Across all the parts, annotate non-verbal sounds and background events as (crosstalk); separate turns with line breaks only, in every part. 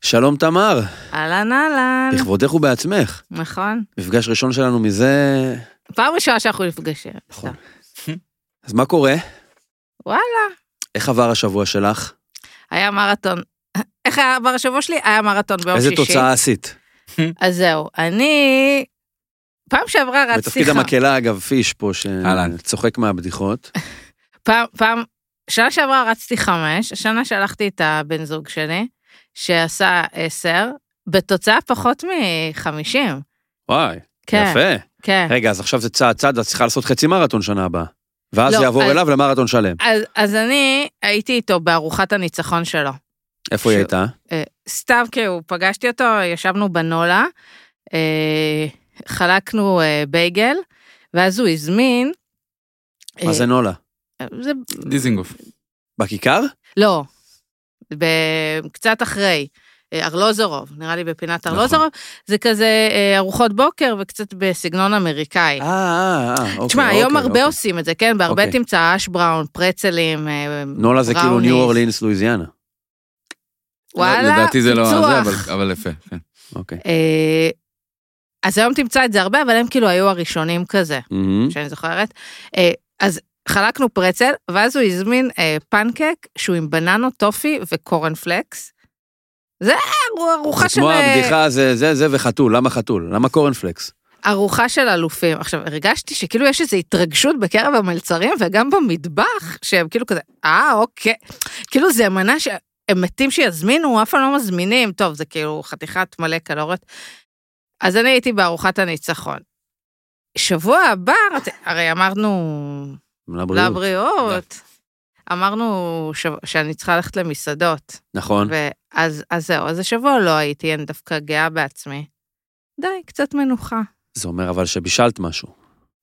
שלום תמר,
אהלן אהלן.
לכבודך ובעצמך.
נכון.
מפגש ראשון שלנו מזה...
פעם ראשונה שאנחנו נפגשים.
נכון. אז מה קורה?
וואלה.
איך עבר השבוע שלך?
היה מרתון. איך היה בשבוע שלי? היה מרתון ביום
איזה
שישי.
תוצאה עשית?
אז זהו, אני... פעם שעברה רצתי...
בתפקיד
ח-
המקהלה, אגב, פיש פה,
אהלן.
שצוחק מהבדיחות.
פעם, פעם... שנה שעברה רצתי חמש, השנה שלחתי את הבן זוג שלי, שעשה עשר, בתוצאה פחות מחמישים.
וואי,
כן,
יפה.
כן.
רגע, אז עכשיו זה צעד צעד, את צריכה לעשות חצי מרתון שנה הבאה. ואז
לא,
זה יעבור
אז-
אליו למרתון שלם.
אז, אז אני הייתי איתו בארוחת הניצחון שלו.
איפה היא
ש-
הייתה?
אה, סתם כאילו, פגשתי אותו, ישבנו בנולה, אה, חלקנו אה, בייגל, ואז הוא הזמין...
מה זה נולה?
אה, זה...
דיזינגוף.
בכיכר?
לא, ב... קצת אחרי. אה, ארלוזורוב, נראה לי בפינת
נכון.
ארלוזורוב, זה כזה אה, ארוחות בוקר וקצת בסגנון אמריקאי.
אה, אה, אה, אוקיי.
תשמע,
אוקיי,
היום הרבה
אוקיי.
עושים את זה, כן? בהרבה
אוקיי.
תמצא אש בראון, פרצלים, אה,
נולה זה כאילו
בראוניז.
ניו אורלינס, לואיזיאנה.
וואלה,
לדעתי זה לא
פיצוח.
זה, אבל- אבל יפה. כן.
אוקיי.
אה, אז היום תמצא את זה הרבה, אבל הם כאילו היו הראשונים כזה.
מהמם.
שאני זוכרת. אה, אז חלקנו פרצל, ואז הוא הזמין אה, פנקק שהוא עם בננות, טופי וקורנפלקס. זה ארו- ארוחה
זה
של...
כמו
אה,
הבדיחה, זה זה זה וחתול, למה חתול? למה קורנפלקס?
ארוחה של אלופים. עכשיו, הרגשתי שכאילו יש איזו התרגשות בקרב המלצרים וגם במטבח, שהם כאילו כזה, אה, אוקיי. כאילו זה מנה שהם מתים שיזמינו, אף פעם לא מזמינים. טוב, זה כאילו חתיכת מלא קלוריות. אז אני הייתי בארוחת הניצחון. שבוע הבא, רצ- הרי אמרנו,
לבריאות.
לבריאות. אמרנו ש... שאני צריכה ללכת למסעדות,
נכון.
ואז אז זהו, אז השבוע לא הייתי, אני דווקא גאה בעצמי. די, קצת מנוחה.
זה אומר אבל שבישלת משהו.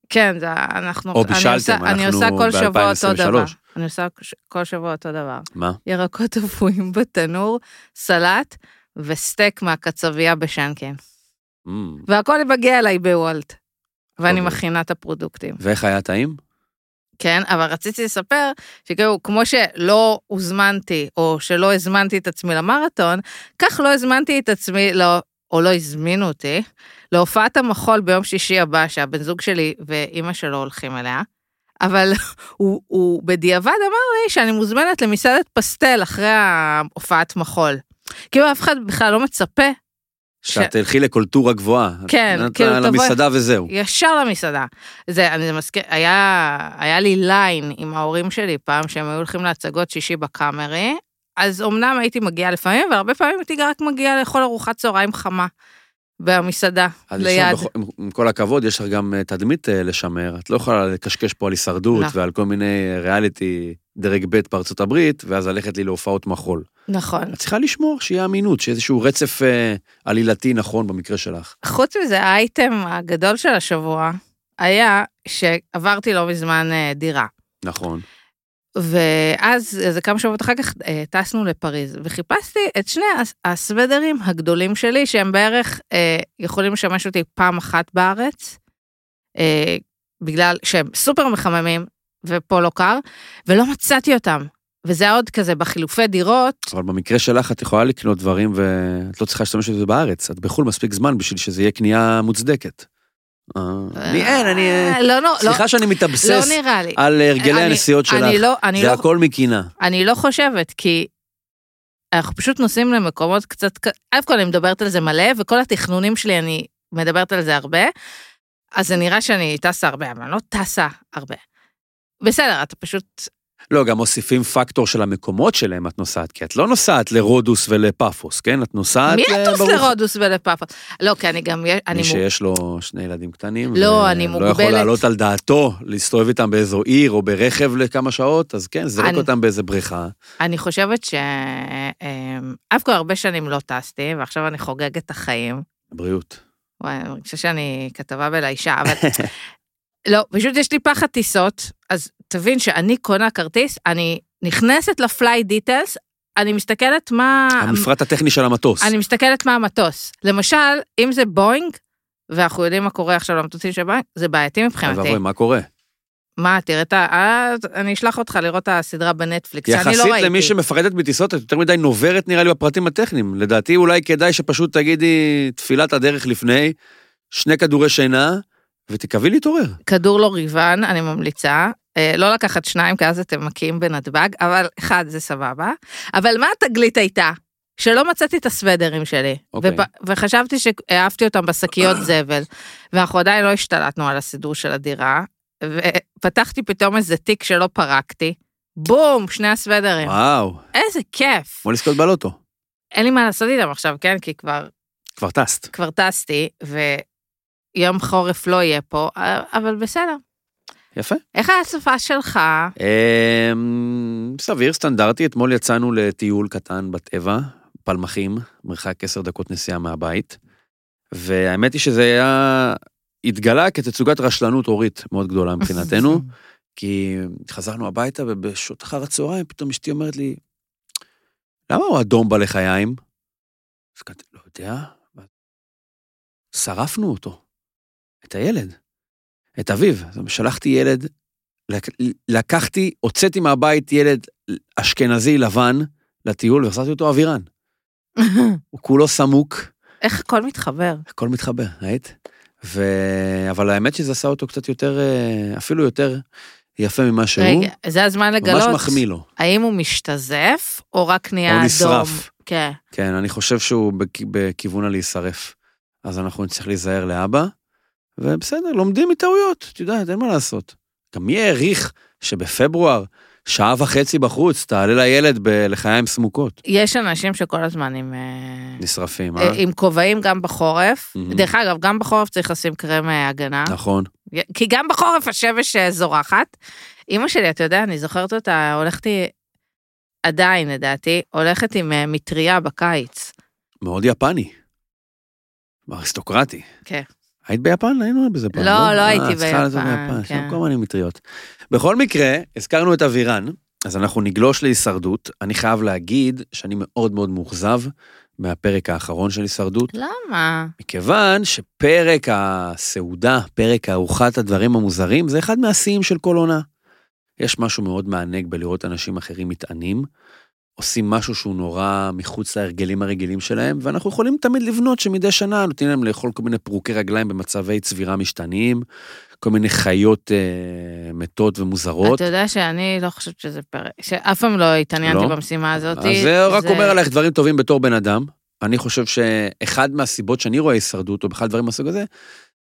כן, זה אנחנו...
או
אני
בישלתם,
עושה-
אנחנו
אני עושה כל שבוע אותו דבר.
ב-2023.
אני עושה כש- כל שבוע אותו דבר.
מה?
ירקות אפויים בתנור, סלט וסטייק מהקצבייה בשנקין.
Mm.
והכל מגיע אליי בוולט. ואני
אוקיי.
מכינה את הפרודוקטים.
ואיך היה טעים?
כן, אבל רציתי לספר שכאילו, כמו שלא הוזמנתי, או שלא הזמנתי את עצמי למרתון, כך לא הזמנתי את עצמי, לא, או לא הזמינו אותי, להופעת המחול ביום שישי הבא, שהבן זוג שלי ואימא שלו הולכים אליה, אבל (laughs) הוא, הוא בדיעבד אמר לי שאני מוזמנת למסעדת פסטל אחרי ההופעת מחול. כאילו אף אחד בכלל לא מצפה
שאת תלכי לקולטורה גבוהה.
כן,
את נתת
כאילו, תבואי-
למסעדה וזהו.
ישר למסעדה. זה, אני מזכיר, היה, היה לי ליין עם ההורים שלי פעם, שהם היו הולכים להצגות שישי בקאמרי, אז אמנם הייתי מגיעה לפעמים, אבל הרבה פעמים הייתי רק מגיעה לאכול ארוחת צהריים חמה במסעדה,
אז יש לך
ליד.
בכל- עם- עם כל הכבוד, יש לך גם אה, תדמית אה, לשמר. את לא יכולה לקשקש פה על הישרדות
לא.
ועל כל מיני אה, ריאליטי דרג ב' בארצות הברית, ואז ללכת לי להופעות מחול.
נכון.
את צריכה לשמור שיהיה אמינות, שאיזשהו רצף אה, עלילתי נכון במקרה שלך.
חוץ מזה, האייטם הגדול של השבוע היה שעברתי לא מזמן אה, דירה.
נכון.
ואז, איזה כמה שבועות אחר כך, אה, טסנו לפריז, וחיפשתי את שני הס- הסוודרים הגדולים שלי, שהם בערך אה, יכולים לשמש אותי פעם אחת בארץ, אה, בגלל שהם סופר מחממים, ופה לא קר, ולא מצאתי אותם. וזה היה עוד כזה בחילופי דירות,
אבל במקרה שלך את יכולה לקנות דברים ואת לא צריכה להשתמש בזה בארץ. את בחו"ל מספיק זמן בשביל שזה יהיה קנייה מוצדקת. אה, אני אין, אני... אה,
אה, לא, לא, לא,
סליחה שאני
לא
מתאבסס
נראה לי.
על הרגלי
אני-
הנסיעות
אני
שלך.
לא, אני
זה
לא,
הכל מקינה.
אני לא חושבת, כי אנחנו פשוט נוסעים למקומות קצת, ק- א' כל אני מדברת על זה מלא, וכל התכנונים שלי אני מדברת על זה הרבה, אז זה נראה שאני טסה הרבה, אבל אני לא טסה הרבה. בסדר, אתה פשוט,
לא, גם מוסיפים פקטור של המקומות שלהם את נוסעת, כי את לא נוסעת לרודוס ולפאפוס, כן? את נוסעת...
מי
אה,
יטוס
ברוך-
לרודוס ולפאפוס? לא, כי אני גם,
מי
אני, מוג-
שיש לו שני ילדים קטנים,
לא,
ו-
אני
לא יכול
מוגבלת.
לעלות על דעתו להסתובב איתם באיזו עיר או ברכב לכמה שעות, אז כן, זרק
אני-
אותם באיזה בריכה.
אני חושבת שאף כל הרבה שנים לא טסתי, ועכשיו אני חוגגת את החיים.
בריאות.
וואי, אני מרגישה שאני כתבה בלאישה, אבל... (laughs) לא, פשוט יש לי פחד טיסות, אז תבין שאני קונה כרטיס, אני נכנסת לפליי דיטלס, אני מסתכלת מה...
המפרט הטכני של המטוס.
אה, אני מסתכלת מה המטוס. למשל, אם זה בואינג, ואנחנו יודעים מה קורה עכשיו למטוסים של בואינג, זה בעייתי
אוי
מבחינתי.
ואבוי, מה קורה?
מה, תראה את ה... אה, אני אשלח אותך לראות את הסדרה בנטפליקס, שאני לא
יחסית
ראיתי.
למי שמפחדת מטיסות, את יותר מדי נוברת נראה לי בפרטים הטכניים. לדעתי אולי כדאי שפשוט תגידי תפילת הדרך לפני, שני כדורי שינה, ותקווי להתעורר.
כדור לא ריבן, אני ממליצה. אה, לא לקחת שניים, כי אז אתם מכים בנתב"ג, אבל אחד זה סבבה. אבל מה התגלית הייתה? שלא מצאתי את הסוודרים שלי,
אוקיי.
וחשבתי שהעפתי אותם בשקיות זבל, ואנחנו עדיין לא השתלטנו על הסידור של הדירה, ופתחתי פתאום איזה תיק שלא פרקתי, בום, שני הסוודרים.
וואו,
איזה כיף.
כמו לזכות בלוטו.
אין לי מה לעשות איתם עכשיו, כן? כי כבר
כבר טסת.
כבר טסתי, ויום חורף לא יהיה פה, אבל בסדר.
יפה.
איך היה הסופה שלך?
אמ, סביר, סטנדרטי. אתמול יצאנו לטיול קטן בטבע, פלמחים, מרחק עשר דקות נסיעה מהבית. והאמת היא שזה היה, התגלה כתצוגת רשלנות הורית מאוד גדולה מבחינתנו, כי חזרנו הביתה ובשעות אחר הצהריים פתאום אשתי אומרת לי, למה הוא אדום בלחיים? אז כתבתי, לא יודע. שרפנו אותו, את הילד, את אביו. אז שלחתי ילד לק- לקחתי, הוצאתי מהבית ילד אשכנזי לבן לטיול והחזרתי אותו אווירן. הוא כולו סמוק,
(laughs) איך הכל מתחבר?
הכל מתחבר, ראית? ו... אבל האמת שזה עשה אותו קצת יותר, אה, אפילו יותר יפה ממה שהוא.
רגע, זה הזמן לגלות.
ממש מחמיא לו.
האם הוא משתזף, או רק נהיה אדום?
או נשרף.
כן.
כן, אני חושב שהוא בכ... בכיוון הלהישרף. אז אנחנו נצטרך להיזהר לאבא, ובסדר, לומדים מטעויות, את יודעת, אין מה לעשות. גם מי העריך שבפברואר, שעה וחצי בחוץ, תעלה לילד בלחיים סמוקות.
יש אנשים שכל הזמן עם... אה,
נשרפים,
אה,
אה?
עם כובעים גם בחורף.
Mhm.
דרך אגב, גם בחורף צריך לשים קרם אה, הגנה.
נכון.
כי גם בחורף השמש אה, זורחת. אימא שלי, אתה יודע, אני זוכרת אותה, הולכתי, עדיין לדעתי, הולכת עם אה, מטריה בקיץ.
מאוד יפני. אריסטוקרטי.
כן.
היית ביפן? היינו בזה פעם.
לא, לא הייתי
אה, את צריכה לעשות
ביפן,
ביפן, יש
כן.
שם כל מיני מטריות. בכל מקרה, הזכרנו את אבירן, אז אנחנו נגלוש להישרדות. אני חייב להגיד שאני מאוד מאוד מאוכזב מהפרק האחרון של הישרדות,
למה?
מכיוון שפרק הסעודה, פרק ארוחת הדברים המוזרים, זה אחד מהשיאים של כל עונה. יש משהו מאוד מענג בלראות אנשים אחרים מתענים, עושים משהו שהוא נורא מחוץ להרגלים הרגילים שלהם, ואנחנו יכולים תמיד לבנות שמדי שנה נותנים להם לאכול כל מיני פרוקי רגליים במצבי צבירה משתנים, כל מיני חיות אה, מתות ומוזרות.
אתה יודע שאני לא חושבת שזה פרק, שאף פעם לא התעניינתי
לא?
במשימה הזאת.
אז זה רק אומר עלייך דברים טובים בתור בן אדם. אני חושב שאחד מהסיבות שאני רואה הישרדות, או בכלל דברים מהסוג הזה,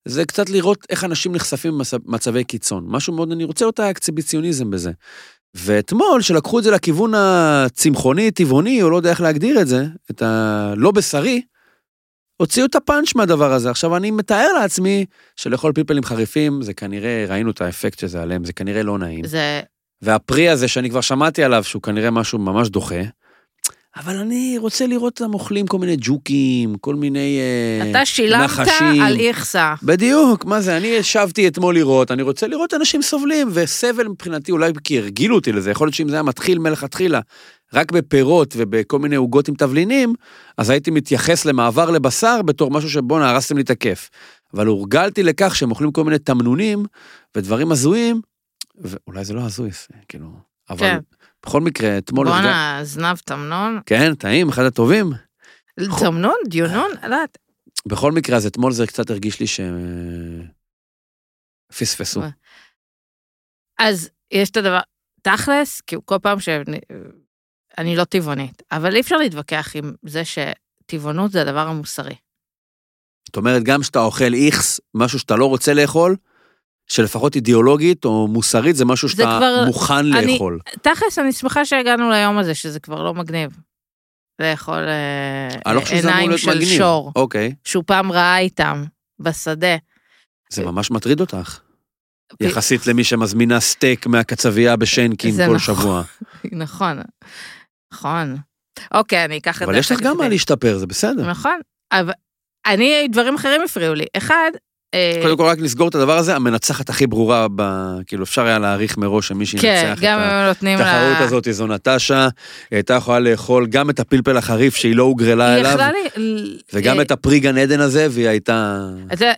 זה קצת לראות איך אנשים נחשפים במצבי קיצון. משהו מאוד, אני רוצה את האקציביציוניזם בזה. ואתמול, שלקחו את זה לכיוון הצמחוני, טבעוני, או לא יודע איך להגדיר את זה, את הלא בשרי, הוציאו את הפאנץ' מהדבר הזה. עכשיו, אני מתאר לעצמי שלאכול פלפלים חריפים, זה כנראה, ראינו את האפקט שזה עליהם, זה כנראה לא נעים.
זה,
והפרי הזה שאני כבר שמעתי עליו, שהוא כנראה משהו ממש דוחה, אבל אני רוצה לראות אותם אוכלים כל מיני ג'וקים, כל מיני... אה,
אתה שילמת
נחשים.
על איכסה.
בדיוק, מה זה, אני ישבתי אתמול לראות, אני רוצה לראות אנשים סובלים, וסבל מבחינתי אולי כי הרגילו אותי לזה, יכול להיות שאם זה היה מתחיל מלכתחילה, רק בפירות ובכל מיני עוגות עם תבלינים, אז הייתי מתייחס למעבר לבשר בתור משהו שבואנה, הרסתם לי את הכיף. אבל הורגלתי לכך שהם אוכלים כל מיני תמנונים ודברים הזויים, ואולי זה לא הזוי, זה כאילו, אבל
כן.
בכל מקרה, אתמול... הרגל-
בואנה, זנב תמנון.
כן, טעים, אחד הטובים.
תמנון? דיונון?
אה.
לא יודעת.
בכל מקרה, אז אתמול זה קצת הרגיש לי שהם... אה, פספסו.
מה? אז יש את הדבר, תכלס, כאילו כל פעם ש... אני לא טבעונית, אבל אי אפשר להתווכח עם זה שטבעונות זה הדבר המוסרי.
זאת אומרת, גם כשאתה אוכל איכס, משהו שאתה לא רוצה לאכול, שלפחות אידיאולוגית או מוסרית זה משהו
זה
שאתה
כבר-
מוכן
אני-
לאכול.
תכלס, אני שמחה שהגענו ליום הזה, שזה כבר לא מגניב. לאכול אה,
אני לא חושב שזה אמור
עיניים
להיות
של
מגניב.
שור,
אוקיי,
שהוא פעם ראה איתם בשדה. אה,
זה ממש מטריד אותך. יחסית למי שמזמינה סטייק מהקצבייה בשיינקין
זה
כל
נכון. (laughs)
שבוע.
נכון, נכון. אוקיי, אני אקח את זה.
אבל יש לך גם מה
בחשבון.
להשתפר, זה בסדר.
נכון, אבל אני, דברים אחרים הפריעו לי. אחד, אה,
קודם כל, רק נסגור את הדבר הזה, המנצחת הכי ברורה, ב... כאילו, אפשר היה להעריך מראש שמי
כן,
שינצח את
גם אם הם נותנים לה...
התחרות הזאת זו נטשה. היא הייתה יכולה לאכול גם את הפלפל החריף שהיא לא הוגרלה
היא
אליו,
יכלה לי... אה,
וגם את הפרי גן עדן הזה, והיא הייתה...
אתה יודע,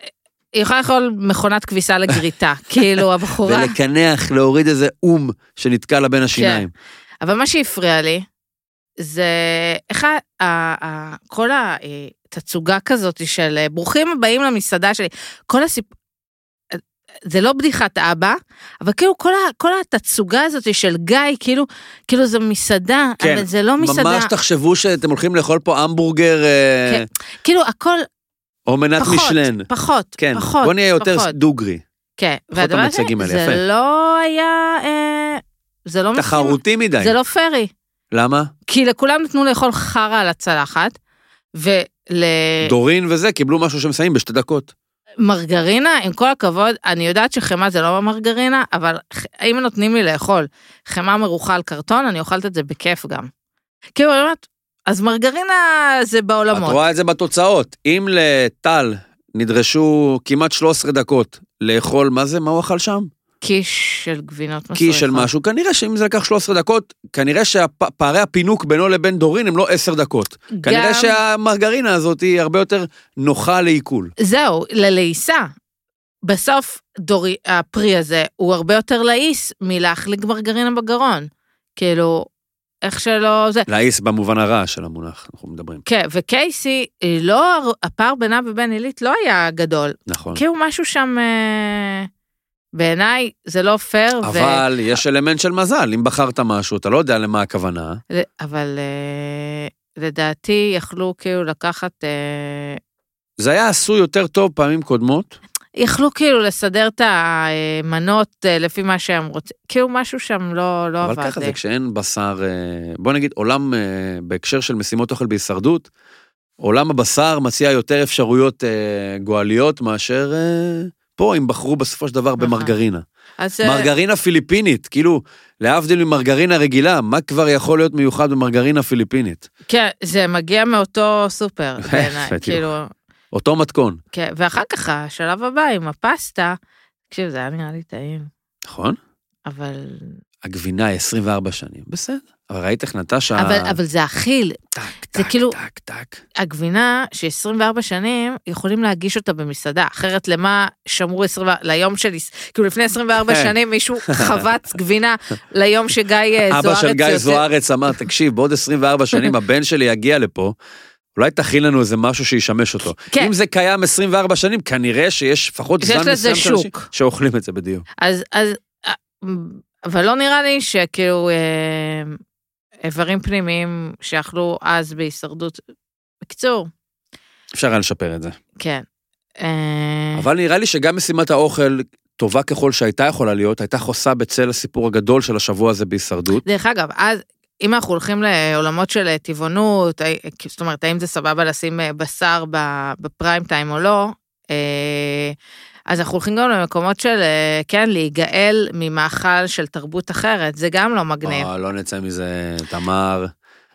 היא יכולה לאכול מכונת כביסה לגריטה, (laughs) כאילו הבחורה.
ולקנח, להוריד איזה אום שנתקע
כן.
לה בין השיניים.
אבל מה שהפריע לי, זה אחד, ה- ה- כל התצוגה כזאת של אה, ברוכים הבאים למסעדה שלי, כל הסיפור, זה לא בדיחת אבא, אבל כאילו כל, ה, כל התצוגה הזאת של גיא, כאילו, כאילו זו מסעדה,
כן,
אבל זה לא מסעדה,
ממש תחשבו שאתם הולכים לאכול פה המבורגר אה,
כן, כאילו הכל
או מנת
פחות,
משלן.
פחות,
כן,
פחות,
בוא נהיה יותר
פחות.
דוגרי.
כן,
פחות
והדבר הזה,
המצגים האלה, יפה.
זה לא היה, אה, זה לא משימה-
תחרותי מדי.
זה לא פרי.
למה?
כי לכולם נתנו לאכול חרא על הצלחת, ולמרגרינה,
דורין וזה קיבלו משהו שמסיימים בשתי דקות.
עם כל הכבוד, אני יודעת שחמאה זה לא מרגרינה, אבל ח- אם נותנים לי לאכול חמאה מרוחה על קרטון, אני אוכלת את זה בכיף גם. כאילו, אני אומרת, אז מרגרינה זה
את
בעולמות.
רואה את זה בתוצאות. אם לטל נדרשו כמעט 13 דקות לאכול, מה זה, מה הוא אכל שם?
קיש של גבינות מסריחות.
קי של משהו. כנראה שאם זה לקח 13 דקות, כנראה שפערי הפינוק בינו לבין דורין הם לא 10 דקות.
גם-
כנראה שהמרגרינה הזאת היא הרבה יותר נוחה לעיכול.
זהו, ללעיסה. בסוף דורי, הפרי הזה הוא הרבה יותר לעיס מלהחליק מרגרינה בגרון. כאילו, איך שלא זה.
להעיס במובן הרע של המונח, אנחנו מדברים.
כן, וקייסי, היא לא, הפער בינה ובין עילית לא היה גדול.
נכון.
כאילו משהו שם, אה, בעיניי, זה לא פייר. ו-
אבל יש אלמנט של מזל, אם בחרת משהו, אתה לא יודע למה הכוונה.
ל- אבל אה, לדעתי יכלו כאילו לקחת, אה,
זה היה עשוי יותר טוב פעמים קודמות.
יכלו כאילו לסדר את המנות אה, לפי מה שהם רוצים. כאילו משהו שם לא, לא עבד.
אבל ככה
לי.
זה כשאין בשר, אה, בוא נגיד עולם אה, בהקשר של משימות אוכל בהישרדות, עולם הבשר מציע יותר אפשרויות אה, גועליות מאשר אה, פה, אם בחרו בסופו של דבר
נכון.
במרגרינה.
אז, אה,
מרגרינה פיליפינית, כאילו, להבדיל ממרגרינה רגילה, מה כבר יכול להיות מיוחד במרגרינה פיליפינית?
כן, זה מגיע מאותו
(laughs)
סופר,
יפה,
בעיניי,
תראו.
כאילו,
אותו מתכון,
כן, ואחר כך השלב הבא עם הפסטה, תקשיב, זה היה נראה לי טעים,
נכון?
אבל...
הגבינה היא 24 שנים, בסדר. אבל ראית איך נטשה...
אבל, אבל זה אכיל,
טק,
זה
טק,
כאילו-
טק, טק.
הגבינה ש-24 שנים יכולים להגיש אותה במסעדה, אחרת למה שמרו 24, ליום של, יש- כאילו לפני 24
כן. (laughs)
שנים מישהו חבץ גבינה ליום שגיא אה, זוארץ
אבא של גיא
יוצא-
זוארץ אמר, תקשיב, בעוד 24 שנים
(laughs)
הבן שלי יגיע לפה, אולי תכין לנו איזה משהו שישמש אותו.
כן.
אם זה קיים 24 שנים, כנראה שיש לפחות
שיש
זן
לזה
מסוים של אנשים
שוק.
שאוכלים את זה בדיוק.
אז, אז, אה, אבל לא נראה לי שכאילו אה, איברים פנימיים שאכלו אז בהישרדות, בקיצור,
אפשר היה לשפר את זה.
כן. אה,
אבל נראה לי שגם משימת האוכל, טובה ככל שהייתה יכולה להיות, הייתה חוסה בצל הסיפור הגדול של השבוע הזה בהישרדות.
דרך אגב, אז אם אנחנו הולכים לעולמות של אה, טבעונות, אה, אה, זאת אומרת, האם זה סבבה לשים אה, בשר ב- בפריים טיים או לא, אה, אז אנחנו הולכים גם למקומות של, אה, כן, להיגאל ממאכל של תרבות אחרת, זה גם לא מגניב.
אה, לא נצא מזה, תמר.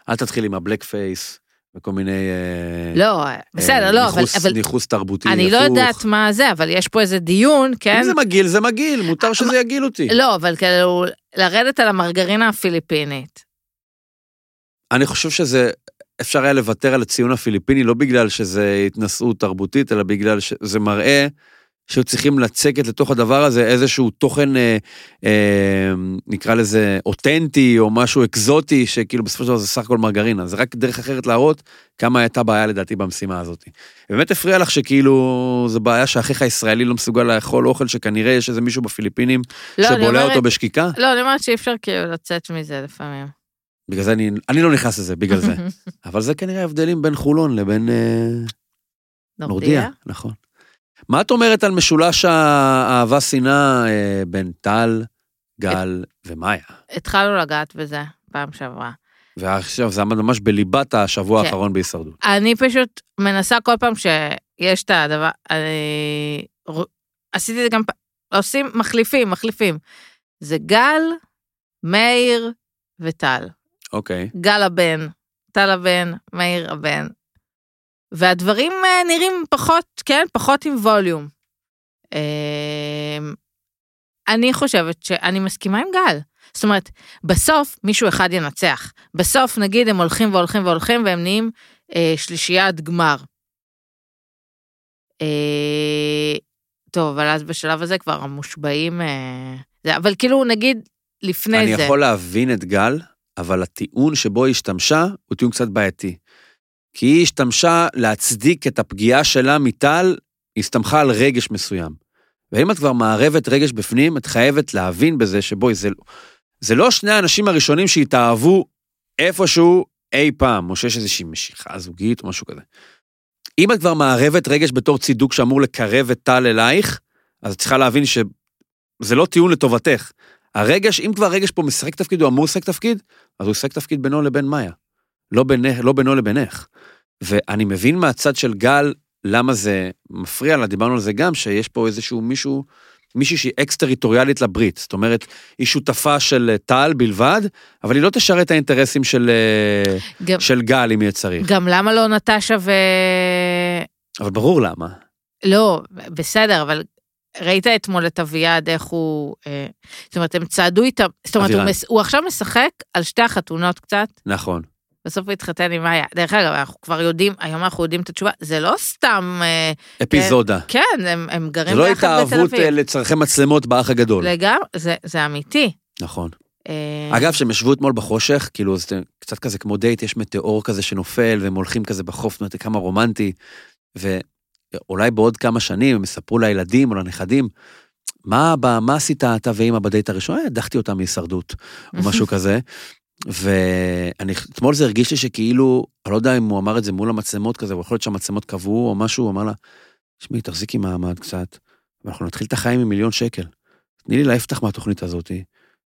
אל תתחיל עם הבלק פייס וכל מיני... אה,
לא, אה, בסדר, לא, אבל-
ניכוס-
אבל
ניכוס תרבותי,
אני לא
הפוך.
יודעת מה זה, אבל יש פה איזה דיון, כן? אה,
אם זה מגעיל, זה מגעיל, מותר שזה יגעיל אותי.
לא, אבל כאילו, לרדת על המרגרינה הפיליפינית.
אני חושב שזה, אפשר היה לוותר על הציון הפיליפיני, לא בגלל שזה התנשאות תרבותית, אלא בגלל שזה מראה שהיו צריכים לצקת לתוך הדבר הזה איזשהו תוכן, אה, אה, נקרא לזה אותנטי, או משהו אקזוטי, שכאילו בסופו של דבר זה סך הכל מרגרינה. זה רק דרך אחרת להראות כמה הייתה בעיה לדעתי במשימה הזאת. באמת הפריע לך שכאילו, זו בעיה שאחיך הישראלי לא מסוגל לאכול אוכל שכנראה יש איזה מישהו בפיליפינים
לא, אני
שבולע
אומרת,
אותו בשקיקה?
לא, אני אומרת שאי אפשר כאילו לצאת מזה לפעמים.
בגלל זה אני, אני לא נכנס לזה,
(laughs)
בגלל זה. אבל זה כנראה ההבדלים בין חולון לבין אה, נורדיה, נכון. מה את אומרת על משולש האהבה-שנאה אה, בין טל, גל ומאיה?
התחלנו לגעת בזה פעם שעברה.
ועכשיו זה עמד ממש בליבת השבוע
כן.
האחרון בהישרדות.
אני פשוט מנסה כל פעם שיש את הדבר, אני ר- עשיתי את זה גם פעם, עושים מחליפים, מחליפים. זה גל, מאיר וטל.
אוקיי.
גל הבן, טל הבן, מאיר הבן. והדברים אה, נראים פחות, כן, פחות עם ווליום. אמ, אני חושבת שאני מסכימה עם גל. זאת אומרת, בסוף מישהו אחד ינצח. בסוף, נגיד, הם הולכים והולכים והולכים והם נהיים אה, שלישיית גמר. אה, טוב, אבל אז בשלב הזה כבר המושבעים... אה, זה, אבל כאילו, נגיד, לפני
אני
זה.
יכול להבין את גל, אבל הטיעון שבו היא השתמשה הוא טיעון קצת בעייתי. כי היא השתמשה להצדיק את הפגיעה שלה מטל, היא הסתמכה על רגש מסוים. ואם את כבר מערבת רגש בפנים, את חייבת להבין בזה שבואי, זה, לא- זה לא שני האנשים הראשונים שהתאהבו איפשהו אי פעם, או שיש איזושהי משיכה זוגית או משהו כזה. אם את כבר מערבת רגש בתור צידוק שאמור לקרב את טל אלייך, אז את צריכה להבין שזה לא טיעון לטובתך. הרגש, אם כבר רגש פה משחק תפקיד, הוא אמור לשחק תפקיד, אז הוא ישחק תפקיד בינו לבין מאיה. לא, בינך, לא בינו לבינך. ואני מבין מהצד של גל למה זה מפריע לה, דיברנו על זה גם, שיש פה איזשהו מישהו, מישהי שהיא אקס-טריטוריאלית לברית. זאת אומרת, היא שותפה של אה, טל בלבד, אבל היא לא תשרת את האינטרסים של, אה,
גם,
של גל אם יהיה צריך.
גם למה לא נטשה ו...
אבל ברור למה.
לא, בסדר, אבל ראית אתמול את אביעד, איך הוא... אה, זאת אומרת, הם צעדו איתם, זאת אומרת, הוא,
אבירן.
מס, הוא עכשיו משחק על שתי החתונות קצת,
נכון.
בסוף הוא התחתן עם מאיה. דרך אגב, אנחנו כבר יודעים, היום אנחנו יודעים את התשובה, זה לא סתם... אה,
אפיזודה.
כן, הם, הם
זה
גרים
לא
ביחד בתל
התאהבות
אביב.
אה, לא. לצורכי מצלמות באח הגדול.
לגמרי, זה, זה אמיתי.
נכון.
אה, (laughs)
אגב, שהם ישבו אתמול בחושך, כאילו, זה קצת כזה כמו דייט, יש מטאור כזה שנופל, והם הולכים כזה בחוף, זאת אומרת, כמה רומנטי. ואולי בעוד כמה שנים הם יספרו לילדים או לנכדים, מה, ב- מה עשית אתה ואימא בדייט הראשון? "אה, הדחתי אותה מהישרדות, או
(laughs)
משהו כזה. ואני, אתמול זה הרגיש לי שכאילו, אני לא יודע אם הוא אמר את זה מול המצלמות כזה, אבל יכול להיות שהמצלמות קבעו או משהו, הוא אמר לה, תשמעי, תחזיקי מעמד קצת, ואנחנו נתחיל את החיים עם מיליון שקל. תני לי להפתח מהתוכנית הזאת,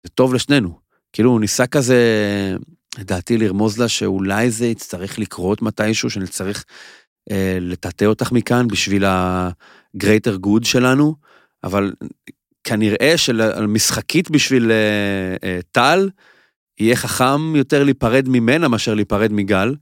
זה טוב לשנינו. כאילו, הוא ניסה כזה, לדעתי, לרמוז לה שאולי זה יצטרך לקרות מתישהו, שאני צריך אה, לטאטא אותך מכאן בשביל ה-greater good שלנו, אבל כנראה שמשחקית בשביל אה, אה, טל, יהיה חכם יותר להיפרד ממנה מאשר להיפרד מגל.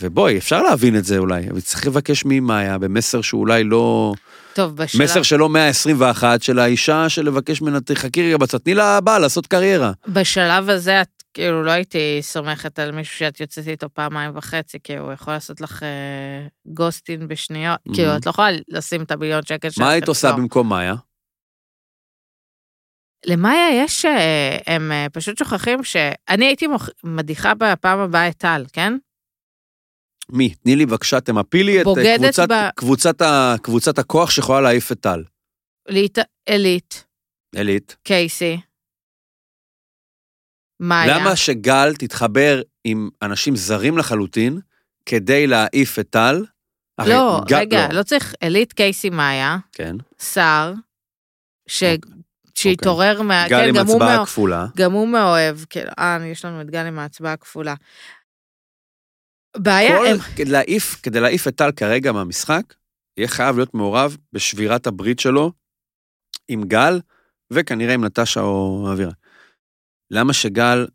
ובואי, אפשר להבין את זה אולי, אבל צריך לבקש ממאיה במסר שאולי לא...
טוב, בשלב...
מסר שלא 121 של האישה שלבקש ממנה, תחכי רגע בצד, תני לה הבאה לעשות קריירה.
בשלב הזה את כאילו לא הייתי סומכת על מישהו שאת יוצאת איתו פעמיים וחצי, כי הוא יכול לעשות לך אה, גוסטין בשניות,
Mhm.
כאילו את לא יכולה לשים את הביליון שקל שאת
מה היית עושה
תחזור.
במקום מאיה?
למאיה יש, אה, הם אה, פשוט שוכחים שאני הייתי מוכ- מדיחה בפעם הבאה את טל, כן?
מי? תני לי בבקשה, תמפי לי את אה,
בוגדת
קבוצת,
ב-
קבוצת, ה, קבוצת הכוח שיכולה להעיף את טל.
ליט, אלית,
אלית.
קייסי, מאיה.
למה שגל תתחבר עם אנשים זרים לחלוטין כדי להעיף את טל? הרי
לא,
גל-
רגע, לא צריך, אלית, קייסי, מאיה,
כן.
סער, ש-
אוקיי.
שהתעורר מה...
גל
כן,
עם
גם הוא
הצבעה
מה-
כפולה.
גם הוא מאוהב, כאילו, אה, יש לנו את גל עם ההצבעה הכפולה. בעיה,
כל-
הם...
כדי להעיף- כדי להעיף את טל כרגע מהמשחק, יהיה חייב להיות מעורב בשבירת הברית שלו עם גל, וכנראה עם נטשה או אבירה. למה שגל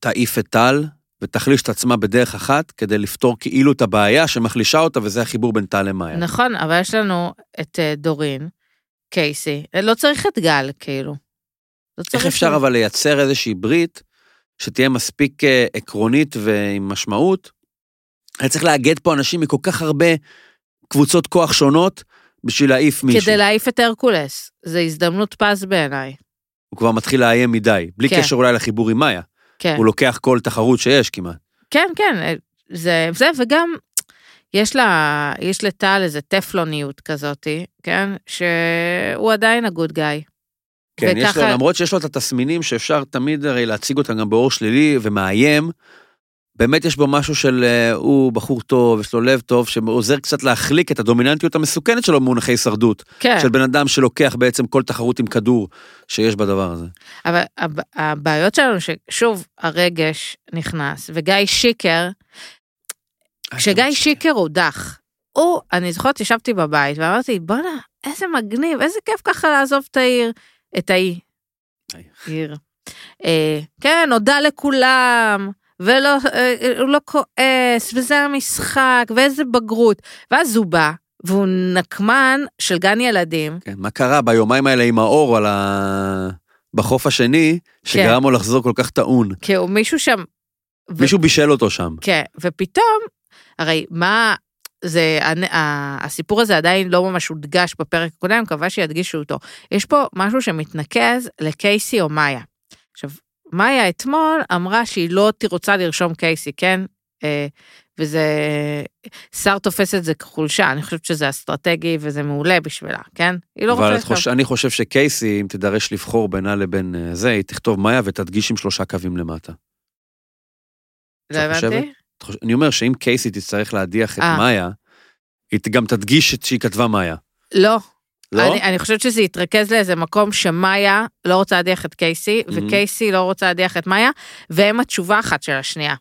תעיף את טל ותחליש את עצמה בדרך אחת כדי לפתור כאילו את הבעיה שמחלישה אותה, וזה החיבור בין טל למאיה.
נכון, אבל יש לנו את אה, דורין, קייסי, אה, לא צריך את גל, כאילו. לא צריך
איך אפשר
את-
אבל לייצר איזושהי ברית שתהיה מספיק אה, עקרונית ועם משמעות? אני צריך לאגד פה אנשים מכל כך הרבה קבוצות כוח שונות בשביל להעיף מישהו.
כדי להעיף את הרקולס, זו הזדמנות פז בעיניי.
הוא כבר מתחיל לאיים מדי, בלי
כן.
קשר אולי לחיבור עם מאיה.
כן,
הוא לוקח כל תחרות שיש כמעט.
כן, כן, אה, זה, זה, וגם יש לה, יש לטל איזה טפלוניות כזאתי, כן, שהוא עדיין הגוד גאי.
כן, יש לו,
וככה-
למרות שיש לו את התסמינים שאפשר תמיד הרי להציג אותם גם באור שלילי ומאיים, באמת יש בו משהו של אה, הוא בחור טוב, יש לו לב טוב, שעוזר קצת להחליק את הדומיננטיות המסוכנת שלו במונחי הישרדות,
כן.
של בן אדם שלוקח בעצם כל תחרות עם כדור שיש בדבר הזה.
אבל הב- הבעיות שלנו ששוב הרגש נכנס וגיא שיקר כשגיא שיקר הודח. הוא, אני זוכרת ישבתי בבית ואמרתי בואנה איזה מגניב איזה כיף ככה לעזוב את העיר את האי.
האי.
עיר. אה, כן הודה לכולם ולא אה, הוא לא כועס וזה המשחק ואיזה בגרות ואז הוא בא והוא נקמן של גן ילדים
כן, מה קרה ביומיים האלה עם האור על ה... בחוף השני, שגרם
כן.
לו לחזור כל כך טעון.
כי הוא מישהו שם. ו-
מישהו בישל אותו שם.
כן, ופתאום, הרי מה, זה, הנ- ה- הסיפור הזה עדיין לא ממש הודגש בפרק הקודם, מקווה שידגישו אותו. יש פה משהו שמתנקז לקייסי או מאיה. עכשיו, מאיה אתמול אמרה שהיא לא ת- רוצה לרשום קייסי, כן? אה, וזה... שר תופס את זה כחולשה, אני חושבת שזה אסטרטגי וזה מעולה בשבילה, כן? היא לא רוצה...
אבל את
לרשום.
חוש... אני חושב שקייסי, אם תידרש לבחור בינה לבין אה, זה, היא תכתוב מאיה ותדגיש עם שלושה קווים למטה.
לא
את חושבת?
הבנתי.
את חוש- אני אומר שאם קייסי תצטרך להדיח את
אה.
מאיה, היא ת- גם תדגיש את שהיא כתבה מאיה.
לא.
לא?
אני, אני חושבת שזה יתרכז לאיזה מקום שמאיה לא רוצה להדיח את קייסי,
Mhm.
וקייסי לא רוצה להדיח את מאיה, והם התשובה אחת של השנייה.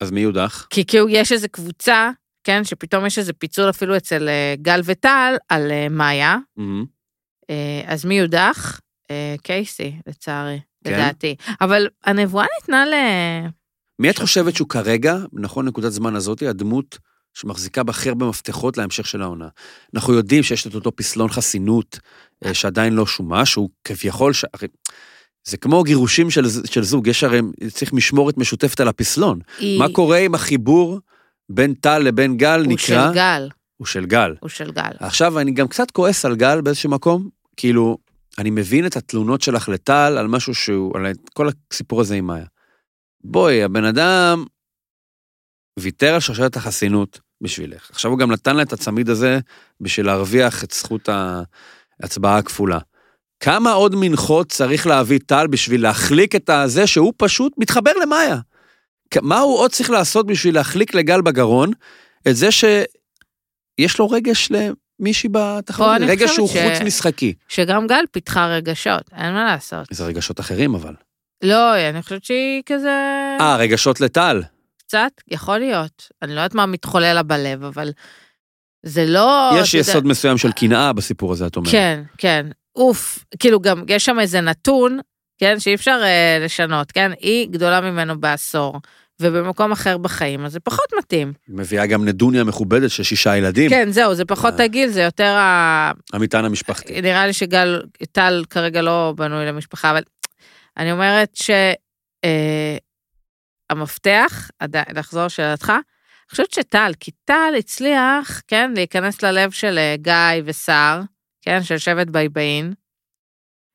אז מי יודח?
כי כאילו יש איזה קבוצה, כן, שפתאום יש איזה פיצול אפילו אצל אה, גל וטל על אה, מאיה,
מהמם.
אה, אז מי יודח? אה, קייסי, לצערי,
כן.
לדעתי. אבל הנבואה ניתנה ל...
מי את חושבת שהוא כרגע, נכון נקודת זמן הזאת, הדמות שמחזיקה בהכי הרבה מפתחות להמשך של העונה? אנחנו יודעים שיש את אותו פסלון חסינות אה, שעדיין לא שומש, שהוא כביכול... ש... הרי זה כמו גירושים של, ז- של זוג, יש הרי, צריך משמורת משותפת על הפסלון.
היא-
מה קורה אם החיבור בין טל לבין גל
הוא של
נקרא...
גל,
הוא של גל.
הוא של גל.
עכשיו, אני גם קצת כועס על גל באיזשהו מקום, כאילו, אני מבין את התלונות שלך לטל על משהו שהוא, על כל הסיפור הזה עם מאיה. בואי, הבן אדם ויתר על שרשרת החסינות בשבילך. עכשיו הוא גם נתן לה את הצמיד הזה בשביל להרוויח את זכות ההצבעה הכפולה. כמה עוד מנחות צריך להביא טל בשביל להחליק את הזה שהוא פשוט מתחבר למאיה? כ- מה הוא עוד צריך לעשות בשביל להחליק לגל בגרון את זה שיש לו רגש למישהי בתחרות?
פה אני
רגש
חושבת
שהוא
ש-
חוץ משחקי.
שגם גל פיתחה רגשות, אין מה לעשות.
זה רגשות אחרים אבל.
לא, אני חושבת שהיא כזה...
אה, רגשות לטל.
קצת, יכול להיות. אני לא יודעת מה מתחולל לה בלב, אבל זה לא...
יש
אתה יודע-
יסוד מסוים של קנאה בסיפור הזה, את אומרת.
כן, כן. אוף, כאילו גם יש שם איזה נתון, כן, שאי אפשר אה, לשנות, כן? היא גדולה ממנו בעשור, ובמקום אחר בחיים, אז זה פחות מתאים.
מביאה גם נדוניה מכובדת של שישה ילדים,
כן, זהו, זה פחות
אה.
הגיל, זה יותר ה...
המטען המשפחתי.
נראה לי שגל, טל כרגע לא בנוי למשפחה, אבל אני אומרת שהמפתח, אה, המפתח, עדי- לחזור לשאלתך, אני חושבת שטל, כי טל הצליח, כן, להיכנס ללב של אה, גיא וסער, כן, של שבט בייבאין.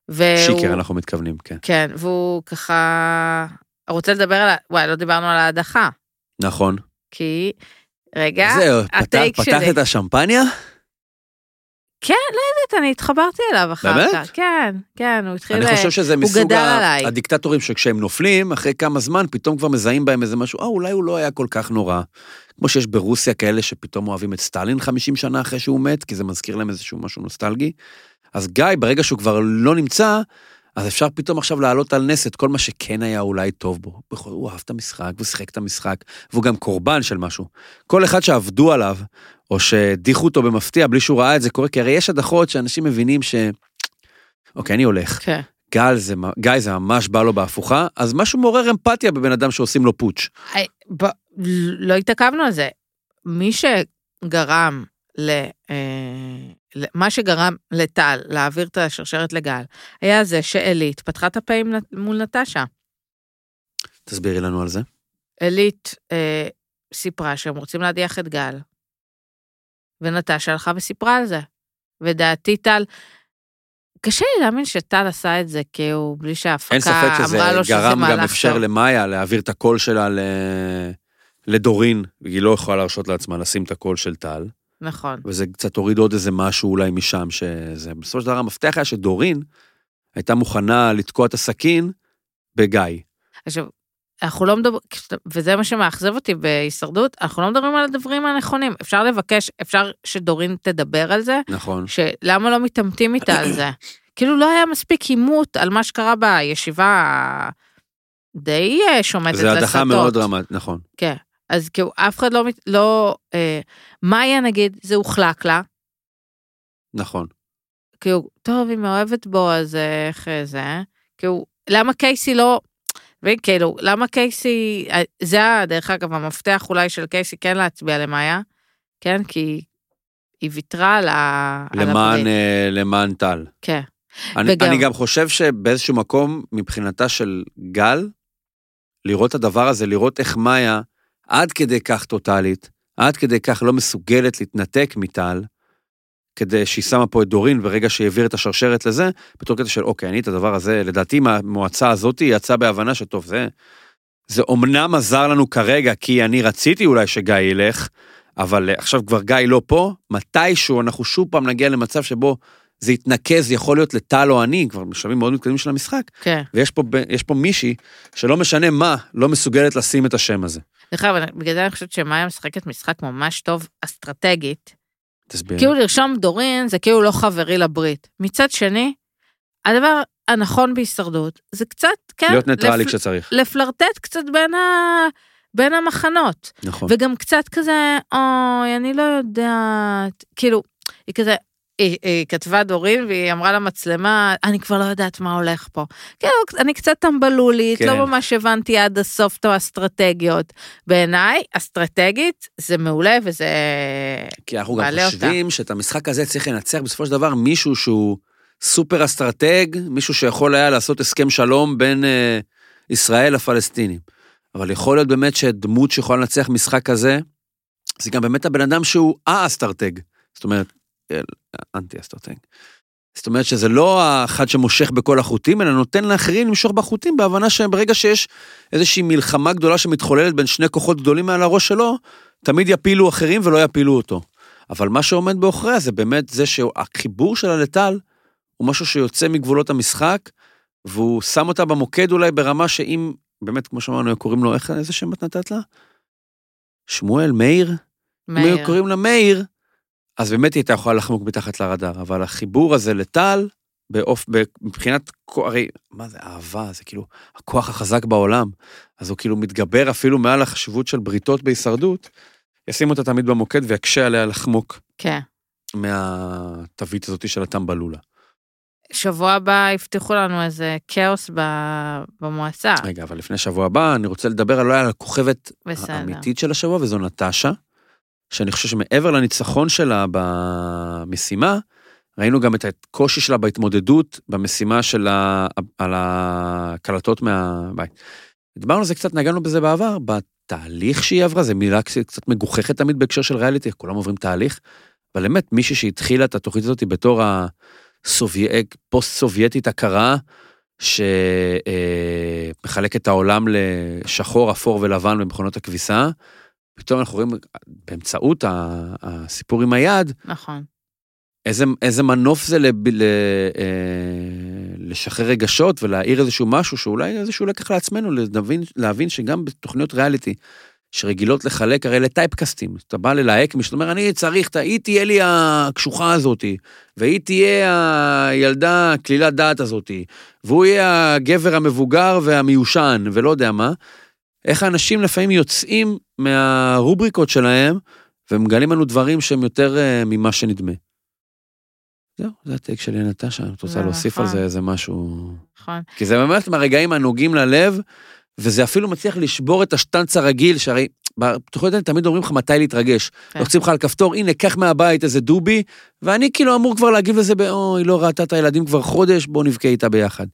והוא-
שיקר, אנחנו מתכוונים, כן.
כן, והוא ככה רוצה לדבר על, ה- וואי, לא דיברנו על ההדחה,
נכון.
כי, רגע,
זהו, פתח-
הטייק
פתחת
שלי.
את השמפניה?
באמת, אני התחברתי אליו אחר
באמת?
כך. כן, כן, הוא התחיל...
אני
אה,
חושב שזה מסוג
גדל
ה-
עליי.
הדיקטטורים שכשהם נופלים, אחרי כמה זמן, פתאום כבר מזהים בהם איזה משהו, אה, אולי הוא לא היה כל כך נורא. כמו שיש ברוסיה כאלה שפתאום אוהבים את סטלין 50 שנה אחרי שהוא מת, כי זה מזכיר להם איזשהו משהו נוסטלגי. אז גיא, ברגע שהוא כבר לא נמצא, אז אפשר פתאום עכשיו להעלות על נס את כל מה שכן היה אולי טוב בו. בכל, הוא אהב את המשחק, והוא שיחק את המשחק, והוא גם קורבן של משהו. כל אחד שעבדו עליו, או שהדיחו אותו במפתיע בלי שהוא ראה את זה קורה, כי הרי יש הדחות שאנשים מבינים ש... אוקיי, אני הולך.
כן.
גל זה, מ- גיא זה ממש בא לו בהפוכה, אז משהו מעורר אמפתיה בבן אדם שעושים לו פוטש.
אה, ב- לא התעכבנו על זה. מי שגרם ל... אה, ל- מה שגרם לטל להעביר את השרשרת לגל, היה זה שאלית פתחה את הפה עם נ- מול נטשה.
תסבירי לנו על זה.
אלית אה, סיפרה שהם רוצים להדיח את גל, ונטשה הלכה וסיפרה על זה. ודעתי טל, קשה לי להאמין שטל עשה את זה כי הוא בלי שההפקה
אין ספק שזה
אמרה לו שזה
גרם גם
מהלך
אפשר
טוב.
למאיה להעביר את הקול שלה ל... לדורין, היא לא יכולה להרשות לעצמה לשים את הקול של טל,
נכון.
וזה קצת הוריד עוד איזה משהו אולי משם, שזה... בסופו של דבר המפתח היה שדורין הייתה מוכנה לתקוע את הסכין בגיא.
עכשיו, אנחנו לא מדברים, וזה מה שמאכזב אותי בהישרדות, אנחנו לא מדברים על הדברים הנכונים. אפשר לבקש, אפשר שדורין תדבר על זה,
נכון.
שלמה לא מתעמתים איתה על זה? כאילו לא היה מספיק עימות על מה שקרה בישיבה די אה, שומטת
זו
לסטות.
הדחה מאוד דרמטית, נכון.
אז כאילו אף אחד לא, מת- לא, אה, מאיה נגיד, זה הוחלק לה,
נכון.
כאילו, טוב, היא מאוהבת בו, אז אה, איך אה, זה? כאילו, למה קייסי לא... מבין, כאילו, למה קייסי... אה, זה, ה- דרך אגב, המפתח אולי של קייסי כן להצביע למאיה, כן? כי היא ויתרה על ה... על
למען,
הברית.
אה, למען טל.
כן.
אני,
וגם-
אני גם חושב שבאיזשהו מקום, מבחינתה של גל, לראות את הדבר הזה, לראות איך מאיה עד כדי כך טוטאלית, עד כדי כך לא מסוגלת להתנתק מטל, כדי שהיא שמה פה את דורין ברגע שהיא העבירה את השרשרת לזה, בתור קטע של אוקיי, אני את הדבר הזה, לדעתי מהמועצה הזאת היא יצאה בהבנה שטוב, זה, זה אומנם עזר לנו כרגע, כי אני רציתי אולי שגיא ילך, אבל אה, עכשיו כבר גיא לא פה, מתישהו אנחנו שוב פעם נגיע למצב שבו זה יתנקז, יכול להיות לטל או אני, כבר בשלבים מאוד מתקדמים של המשחק,
כן.
ויש פה, ב- יש פה מישהי שלא משנה מה, לא מסוגלת לשים את השם הזה.
דרך אגב, אני- בגלל זה אני חושבת שמאיה משחקת משחק ממש טוב אסטרטגית.
תסביר.
כאילו לרשום דורין זה כאילו לא חברי לברית. מצד שני, הדבר הנכון בהישרדות זה קצת, כן,
להיות ניטרלי
לפ-
כשצריך.
לפלרטט קצת בין ה... בין המחנות.
נכון.
וגם קצת כזה, אוי, אני לא יודעת. כאילו, היא כזה, היא, היא כתבה דורין והיא אמרה למצלמה, אני כבר לא יודעת מה הולך פה. כאילו, אני קצת טמבלולית,
כן.
לא ממש הבנתי עד הסוף את האסטרטגיות. בעיניי, אסטרטגית זה מעולה וזה...
כי אנחנו גם
מעלה אותה.
חושבים שאת המשחק הזה צריך לנצח בסופו של דבר מישהו שהוא סופר אסטרטג, מישהו שיכול היה לעשות הסכם שלום בין אה, ישראל לפלסטינים. אבל יכול להיות באמת שדמות שיכולה לנצח משחק כזה, זה גם באמת הבן אדם שהוא האסטרטג. זאת אומרת, אל- אנטי-אסטרטג. זאת אומרת שזה לא האחד שמושך בכל החוטים, אלא נותן לאחרים למשוך בחוטים, בהבנה שברגע שיש איזושהי מלחמה גדולה שמתחוללת בין שני כוחות גדולים מעל הראש שלו, תמיד יפילו אחרים ולא יפילו אותו. אבל מה שעומד בעוכריה זה באמת זה שהחיבור שלה לטל הוא משהו שיוצא מגבולות המשחק, והוא שם אותה במוקד אולי ברמה שאם, באמת, כמו שאמרנו, היו קוראים לו, איך, איזה שם את נתת לה? שמואל, מאיר? מאיר. אם היו
מאיר.
קוראים לה מאיר, אז באמת היא הייתה יכולה לחמוק מתחת לרדאר, אבל החיבור הזה לטל, באופ... ב- מבחינת, כו- הרי, מה זה אהבה, זה כאילו הכוח החזק בעולם, אז הוא כאילו מתגבר אפילו מעל החשיבות של בריתות בהישרדות, ישים אותה תמיד במוקד ויקשה עליה לחמוק
כן.
מהתווית הזאת של הטמבלולה.
שבוע הבא יפתחו לנו איזה כאוס ב- במועצה.
רגע, אבל לפני שבוע הבא, אני רוצה לדבר אולי על הכוכבת
בסדר.
האמיתית של השבוע, וזו נטשה, שאני חושב שמעבר לניצחון שלה במשימה, ראינו גם את הקושי שלה בהתמודדות במשימה של ה... על הקלטות מהבית. דיברנו על זה קצת, נגענו בזה בעבר, בתהליך שהיא עברה, זו מילה קצת- קצת מגוחכת תמיד בהקשר של ריאליטי, כולם עוברים תהליך, אבל באמת, מישהי שהתחילה את התוכנית הזאת בתור הפוסט-סובייטית הקרה, שמחלק את העולם לשחור, אפור ולבן במכונות הכביסה. פתאום אנחנו רואים באמצעות ה- הסיפור עם היד,
נכון.
איזה, איזה מנוף זה לב, ל, אה, לשחרר רגשות ולהאיר איזשהו משהו שאולי איזשהו לקח לעצמנו, להבין, להבין שגם בתוכניות ריאליטי שרגילות לחלק הרי לטייפקסטים, אתה בא ללהק מישהו, אתה אומר, אני צריך, את ה- היא תהיה לי הקשוחה הזאתי, והיא תהיה הילדה כלילת דעת הזאתי, והוא יהיה הגבר המבוגר והמיושן, ולא יודע מה. איך האנשים לפעמים יוצאים מהרובריקות שלהם ומגלים לנו דברים שהם יותר אה, ממה שנדמה. זהו, זה הטייק שלי נטשה, את
זה
רוצה להוסיף על
נכון.
זה איזה משהו?
נכון.
כי זה באמת מהרגעים הנוגעים ללב, וזה אפילו מצליח לשבור את השטנץ הרגיל, שהרי בתוכניות האלה תמיד אומרים לך מתי להתרגש.
כן.
לוחצים לך על כפתור, הנה, קח מהבית איזה דובי, ואני כאילו אמור כבר להגיב לזה ב... אוי, לא ראתה את הילדים כבר חודש, בוא נבכה איתה ביחד.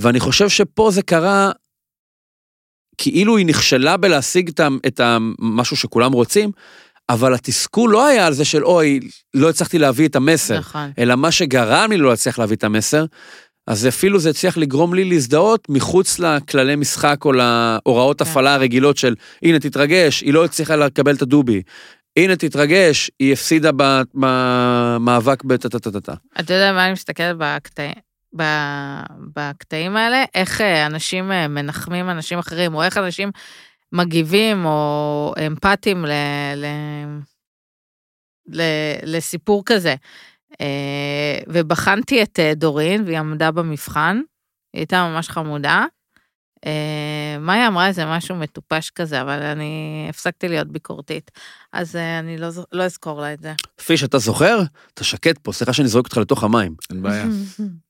ואני חושב שפה זה קרה, כאילו היא נכשלה בלהשיג את ה- את המשהו שכולם רוצים, אבל התסכול לא היה על זה של אוי, לא הצלחתי להביא את המסר.
נכון.
אלא מה שגרם לי לא להצליח להביא את המסר, אז אפילו זה הצליח לגרום לי להזדהות מחוץ לכללי משחק או להוראות
כן.
הפעלה הרגילות של הנה תתרגש, היא לא הצליחה לקבל את הדובי. הנה תתרגש, היא הפסידה במאבק בטה-טה-טה-טה.
אתה יודע מה אני מסתכלת בקטעים? ב- בקטעים האלה, איך אה, אנשים אה, מנחמים אנשים אחרים, או איך אנשים מגיבים או אמפתיים ל, ל, ל, לסיפור כזה. אה, ובחנתי את אה, דורין, והיא עמדה במבחן, היא הייתה ממש חמודה. אה, מאיה אמרה איזה משהו מטופש כזה, אבל אני הפסקתי להיות ביקורתית, אז אה, אני לא, זו- לא אזכור לה את זה.
פיש, אתה זוכר? אתה שקט פה, סליחה שאני זורק אותך לתוך המים.
(laughs)
אין בעיה,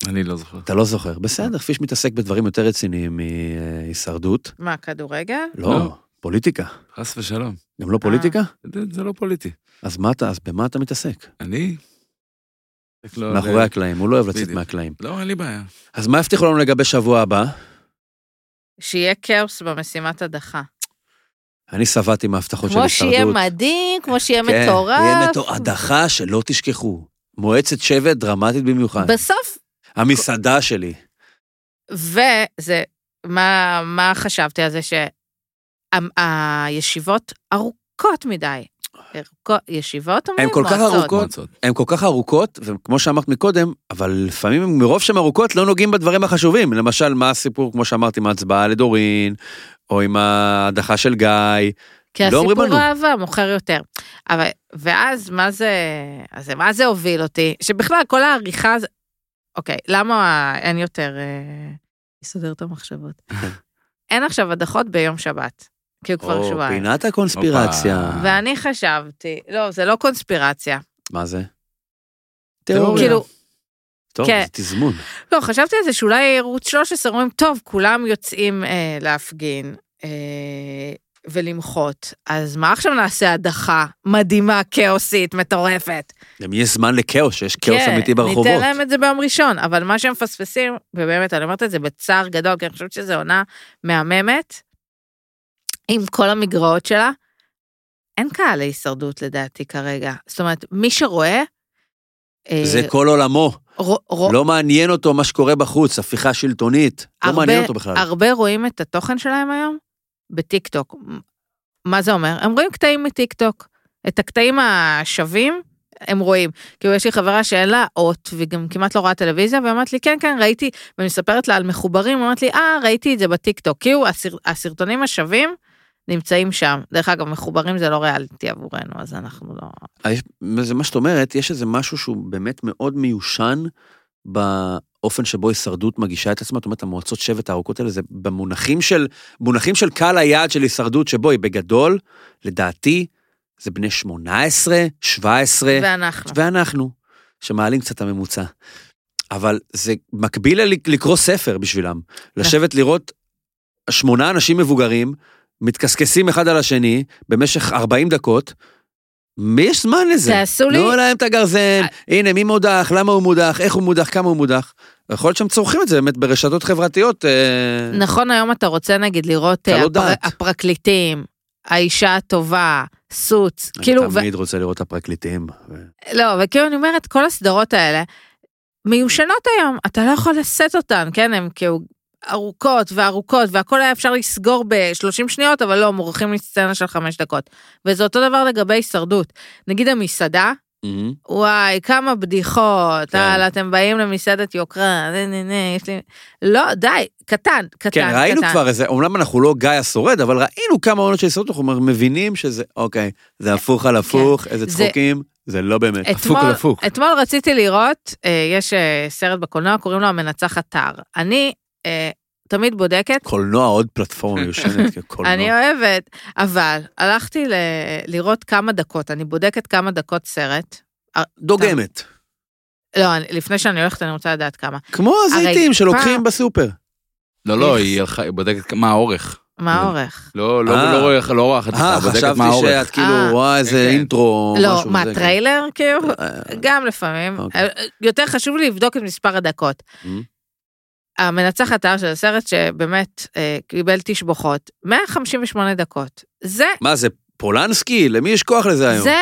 אני לא זוכר.
אתה לא זוכר. בסדר, פיש מתעסק בדברים יותר רציניים מהישרדות.
מה, כדורגל?
לא,
לא. אה.
פוליטיקה.
חס ושלום.
גם לא פוליטיקה?
זה- זה לא פוליטי.
אז מה אתה, אז במה אתה מתעסק?
אני? רק לא-
מאחורי הקלעים, הוא לא אוהב לצאת
בדיוק.
מהקלעים.
לא, אין לי בעיה.
אז מה הבטיחו לנו לגבי שבוע הבא?
שיהיה כאוס במשימת הדחה.
אני שבעתי מההבטחות של
כמו
הישרדות.
שיהיה מדהים, כמו שיהיה
כן,
מטורף.
יהיה מטורף. הדחה שלא תשכחו. מועצת שבט דרמטית במיוחד.
בסוף,
המסעדה שלי.
וזה, מה, מה חשבתי על זה שהישיבות ארוכות מדי. ארוכות- ישיבות אומרים?
אה. הן כל כך
מועצות.
ארוכות.
מועצות.
הן כל כך ארוכות, וכמו שאמרת מקודם, אבל לפעמים הם- מרוב שהן ארוכות לא נוגעים בדברים החשובים. למשל, מה הסיפור, כמו שאמרת, עם ההצבעה לדורין, או עם ההדחה של גיא.
כי
לא אומרים
הסיפור
לנו.
אהבה מוכר יותר. אבל, ואז מה זה, אז זה- מה זה הוביל אותי? שבכלל כל העריכה, הז- אוקיי, למה אין יותר, אה, יסדר
(laughs)
את המחשבות. אין עכשיו הדחות ביום שבת, כי הוא כבר
או,
שבועיים.
פינת הקונספירציה.
הופה.
ואני חשבתי, לא, זה לא קונספירציה.
מה זה? לא
תיאוריה.
כאילו,
טוב,
כן.
זה תזמון.
לא, חשבתי על זה שאולי ערוץ 13 אומרים, טוב, כולם יוצאים אה, להפגין אה, ולמחות, אז מה עכשיו נעשה הדחה מדהימה, כאוסית, מטורפת?
גם יש זמן לכאוס, שיש כאוס
כן,
אמיתי ברחובות.
ניתן להם את זה ביום ראשון, אבל מה שהם מפספסים, ובאמת, אני אומרת את זה בצער גדול, כי אני חושבת שזו עונה מהממת, עם כל המגרעות שלה. אין קהל להישרדות לדעתי כרגע. זאת אומרת, מי שרואה... אה,
זה כל עולמו.
רוא- רוא-
לא מעניין אותו מה שקורה בחוץ, הפיכה שלטונית. לא
הרבה-
מעניין אותו בכלל.
הרבה רואים את התוכן שלהם היום בטיק טוק. מה זה אומר? הם רואים קטעים מטיק טוק. את הקטעים השווים הם רואים. כאילו יש לי חברה שאין לה אות והיא גם כמעט לא רואה טלוויזיה והיא אומרת לי כן כן ראיתי ואני מספרת לה על מחוברים, היא אומרת לי אה ראיתי את זה בטיק טוק. כאילו הסר, הסרטונים השווים נמצאים שם. דרך אגב מחוברים זה לא ריאליטי עבורנו אז אנחנו לא...
אה, יש- זה מה שאת אומרת, יש איזה משהו שהוא באמת מאוד מיושן באופן שבו הישרדות מגישה את עצמה. זאת אומרת, המועצות שבט הארוכות האלה, זה במונחים של, מונחים של קהל היעד של הישרדות, שבו היא בגדול, לדעתי, זה בני 18, 17,
ואנחנו.
ואנחנו, שמעלים קצת את הממוצע. אבל זה מקביל ל- לקרוא ספר בשבילם. לשבת לראות שמונה אנשים מבוגרים, מתקסקסים אחד על השני במשך 40 דקות. מי יש זמן לזה?
תעשו לי... אה.
תנו להם את הגרזן, הנה מי מודח, למה הוא מודח, איך הוא מודח, כמה הוא מודח. יכול להיות שהם צורכים את זה באמת ברשתות חברתיות. אה,
נכון היום אתה רוצה נגיד לראות
אתה
אה,
לא
הפר...
דעת.
הפרקליטים, האישה הטובה, סוץ, כאילו,
אני
ו...
תמיד רוצה לראות את הפרקליטים.
לא, וכאילו אני אומרת, כל הסדרות האלה מיושנות היום, אתה לא יכול לשאת אותן, כן, הן כאילו ארוכות וארוכות, והכל היה אפשר לסגור ב-30 שניות, אבל לא, מורחים לי סצנה של 5 דקות. וזה אותו דבר לגבי הישרדות. נגיד המסעדה,
מהמם.
וואי, כמה בדיחות,
כן.
יאללה, אתם באים למסעדת יוקרה, נה, נה, נה, יש לי... לא, די, קטן, קטן,
כן, ראינו
קטן.
כבר איזה, אומנם אנחנו לא גיא השורד, אבל ראינו כמה עונות של סרטון, אנחנו מבינים שזה, אוקיי, זה הפוך על הפוך, איזה
כן. זה-
צחוקים, זה לא באמת.
הפוך על הפוך.
אתמול רציתי לראות, אה, יש אה, סרט בקולנוע, קוראים לו המנצח אתר. אני אה, תמיד בודקת,
קולנוע עוד
(laughs)
פלטפורמה מיושנת
אני
כקולנוע.
אוהבת, אבל הלכתי ל- לראות כמה דקות, אני בודקת כמה דקות סרט.
דוגמת.
לא, אני- לפני שאני הולכת אני רוצה לדעת כמה.
כמו הזיתים
הרי
שלוקחים
פעם-
בסופר.
לא, לא, היא הלכה, היא בודקת מה האורך.
מה
כן.
האורך?
לא, לא
אה.
לא רואה- לא רואה חתיכה,
אה,
בודקת
חשבתי
מה האורך.
שאת כאילו
אה.
רואה איזה
כן, כן.
אינטרו או משהו.
לא, מה,
וזה, כן.
טריילר כאילו?
אה,
גם לפעמים. אה,
אוקיי.
יותר חשוב לי לבדוק את מספר הדקות.
אמ.
המנצח אתר של הסרט שבאמת אה, קיבל תשבוכות, 158 דקות. זה
מה זה, פולנסקי? למי יש כוח לזה היום?
זה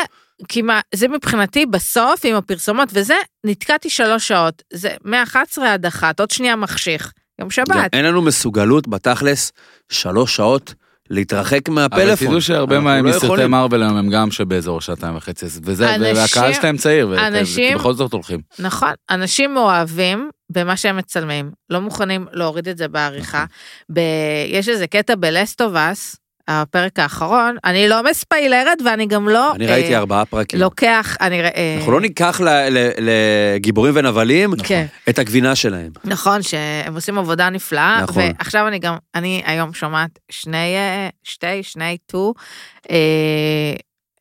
כמעט, זה מבחינתי בסוף עם הפרסומות, וזה נתקעתי שלוש שעות, זה מ-11 עד אחת, עוד שנייה מחשיך, יום
גם
שבת.
אין לנו מסוגלות בתכלס שלוש שעות להתרחק
אבל
מהפלאפון.
תדעו שהרבה
אנחנו לא
מהמסרטי
יכולים.
מרוויל היום הם גם שבאזור שעתיים וחצי, אז- וזה,
אנשים-
והקהל שלהם צעיר, ואת-
אנשים-
בכל זאת הולכים.
נכון, אנשים מאוהבים במה שהם מצלמים, לא מוכנים להוריד את זה בעריכה.
נכון.
ב... יש איזה קטע בלסטובס, הפרק האחרון, אני לא מספיילרת ואני גם לא...
אני ראיתי
אה,
ארבעה פרקים.
לוקח, אני... ר- אה,
אנחנו לא ניקח ל- ל- לגיבורים ונבלים
כן.
את הגבינה שלהם.
נכון, שהם עושים עבודה נפלאה.
נכון.
נכון. ועכשיו אני גם, אני היום שומעת שני, אה, שתי, שני טו אה,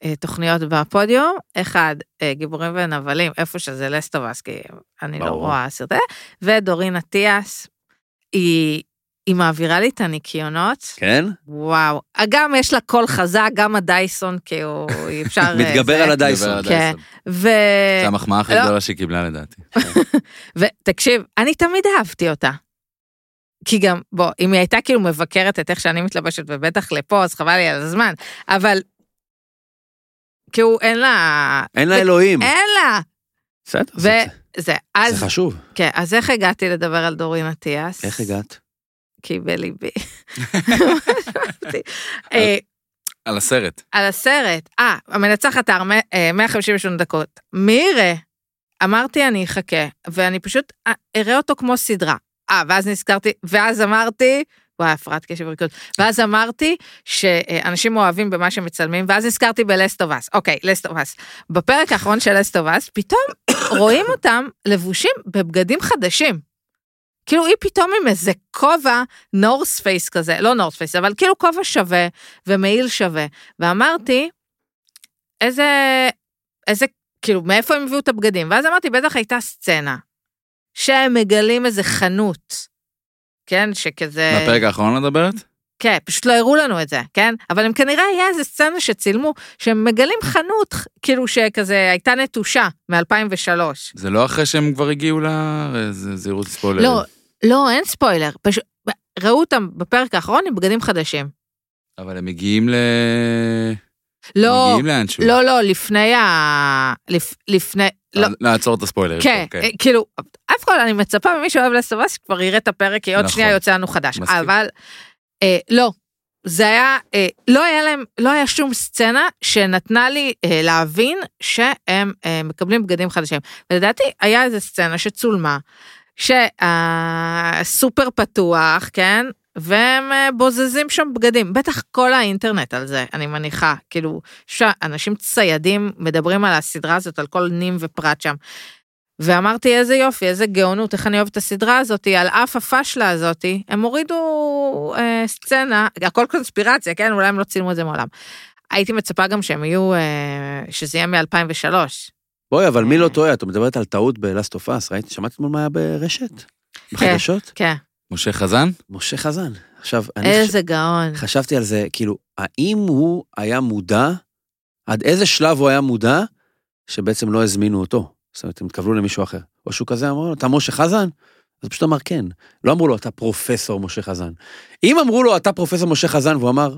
אה, תוכניות בפודיום. אחד, אה, גיבורים ונבלים, איפה שזה לסטובס, כי אני לא
ברור.
רואה סרטי, ודורין אטיאס, היא, היא מעבירה לי את הניקיונות. כן. (laughs)
כן?
וואו. אה, גם יש לה קול חזק, גם הדייסון, כאילו, אי אפשר... אה,
(laughs) מתגבר
זה.
על
מדבר
הדייסון.
על
כן.
הדייסון.
ו...
זו המחמאה הכי
כן. לא.
גדולה שהיא קיבלה לדעתי.
ותקשיב, אני תמיד אהבתי אותה. כי גם, בוא, אם היא הייתה כאילו מבקרת את איך שאני מתלבשת, ובטח לפה, אז חבל לי על הזמן, אבל... כאילו, אין לה...
אין לה אלוהים.
אין לה!
בסדר, זה-
אה, ו- זה,
זה-
אז,
זה חשוב.
כן, אז איך הגעתי לדבר על דורין אטיאס?
איך הגעת? (laughs)
כי בליבי. ממש אהבתי. אה,
על הסרט.
על הסרט, אה, המנצחת האר, מ- אה, 158 דקות. מירה, אמרתי אני אחכה, ואני פשוט אה, אראה אותו כמו סדרה. אה, ואז נזכרתי, ואז אמרתי, וואי, הפרעת קשב וריכוז, ואז אמרתי שאנשים אוהבים במה שמצלמים, ואז נזכרתי בלסטובס, אוקיי, לסטובס. בפרק האחרון של לסטובס, פתאום (coughs) רואים אותם לבושים בבגדים חדשים. כאילו היא פתאום עם איזה כובע נורס פייס כזה, לא נורס פייס, אבל כאילו כובע שווה ומעיל שווה. ואמרתי, איזה, איזה, כאילו, מאיפה הם הביאו את הבגדים? ואז אמרתי, בטח הייתה סצנה, שהם מגלים איזה חנות, כן, שכזה...
מהפרק האחרון את מדברת?
כן, פשוט לא הראו לנו את זה, כן? אבל הם כנראה היה איזה סצנה שצילמו, שהם מגלים חנות, כאילו שכזה הייתה נטושה מ-2003.
זה לא אחרי שהם כבר הגיעו ל... זה זהירות ספוילר.
לא, לא, אין ספוילר, פשוט ראו אותם בפרק האחרון עם בגדים חדשים.
אבל הם מגיעים ל...
לא,
מגיעים לאנשהו.
לא, לא, לפני ה... לפ- לפני... לא,
נעצור את הספוילר.
כן,
אוקיי.
אה, כאילו, אף אחד, אני מצפה ממי שאוהב לסטובס שכבר יראה את הפרק, כי עוד
נכון.
שנייה יוצא לנו חדש.
מסכים.
אבל אה, לא, זה היה, אה, לא היה להם, לא היה שום סצנה שנתנה לי אה, להבין שהם אה, מקבלים בגדים חדשים. ולדעתי, היה איזה סצנה שצולמה, שהסופר פתוח, כן? והם אה, בוזזים שם בגדים, בטח כל האינטרנט על זה, אני מניחה, כאילו, שאנשים ציידים מדברים על הסדרה הזאת, על כל נים ופרט שם. ואמרתי, איזה יופי, איזה גאונות, איך אני אוהבת את הסדרה הזאת, על אף הפשלה הזאת, הם הורידו אה, סצנה, הכל קונספירציה, כן? אולי הם לא צילמו את זה מעולם. הייתי מצפה גם שהם יהיו, אה, שזה יהיה מ-2003.
בואי, אבל מי לא טועה? את מדברת על טעות בלאסט אוף אס, ראית? שמעת אתמול מה היה ברשת? בחדשות?
כן,
משה חזן?
משה חזן. עכשיו, אני
איזה גאון.
חש- חשבתי על זה, כאילו, האם הוא היה מודע, עד איזה שלב הוא היה מודע, שבעצם לא הזמינו אותו? זאת אומרת, הם התכוונו למישהו אחר. או שהוא כזה אמר לו, אתה משה חזן? אז הוא פשוט אמר כן. לא אמרו לו, אתה פרופסור משה חזן. אם אמרו לו, אתה פרופסור משה חזן, והוא אמר,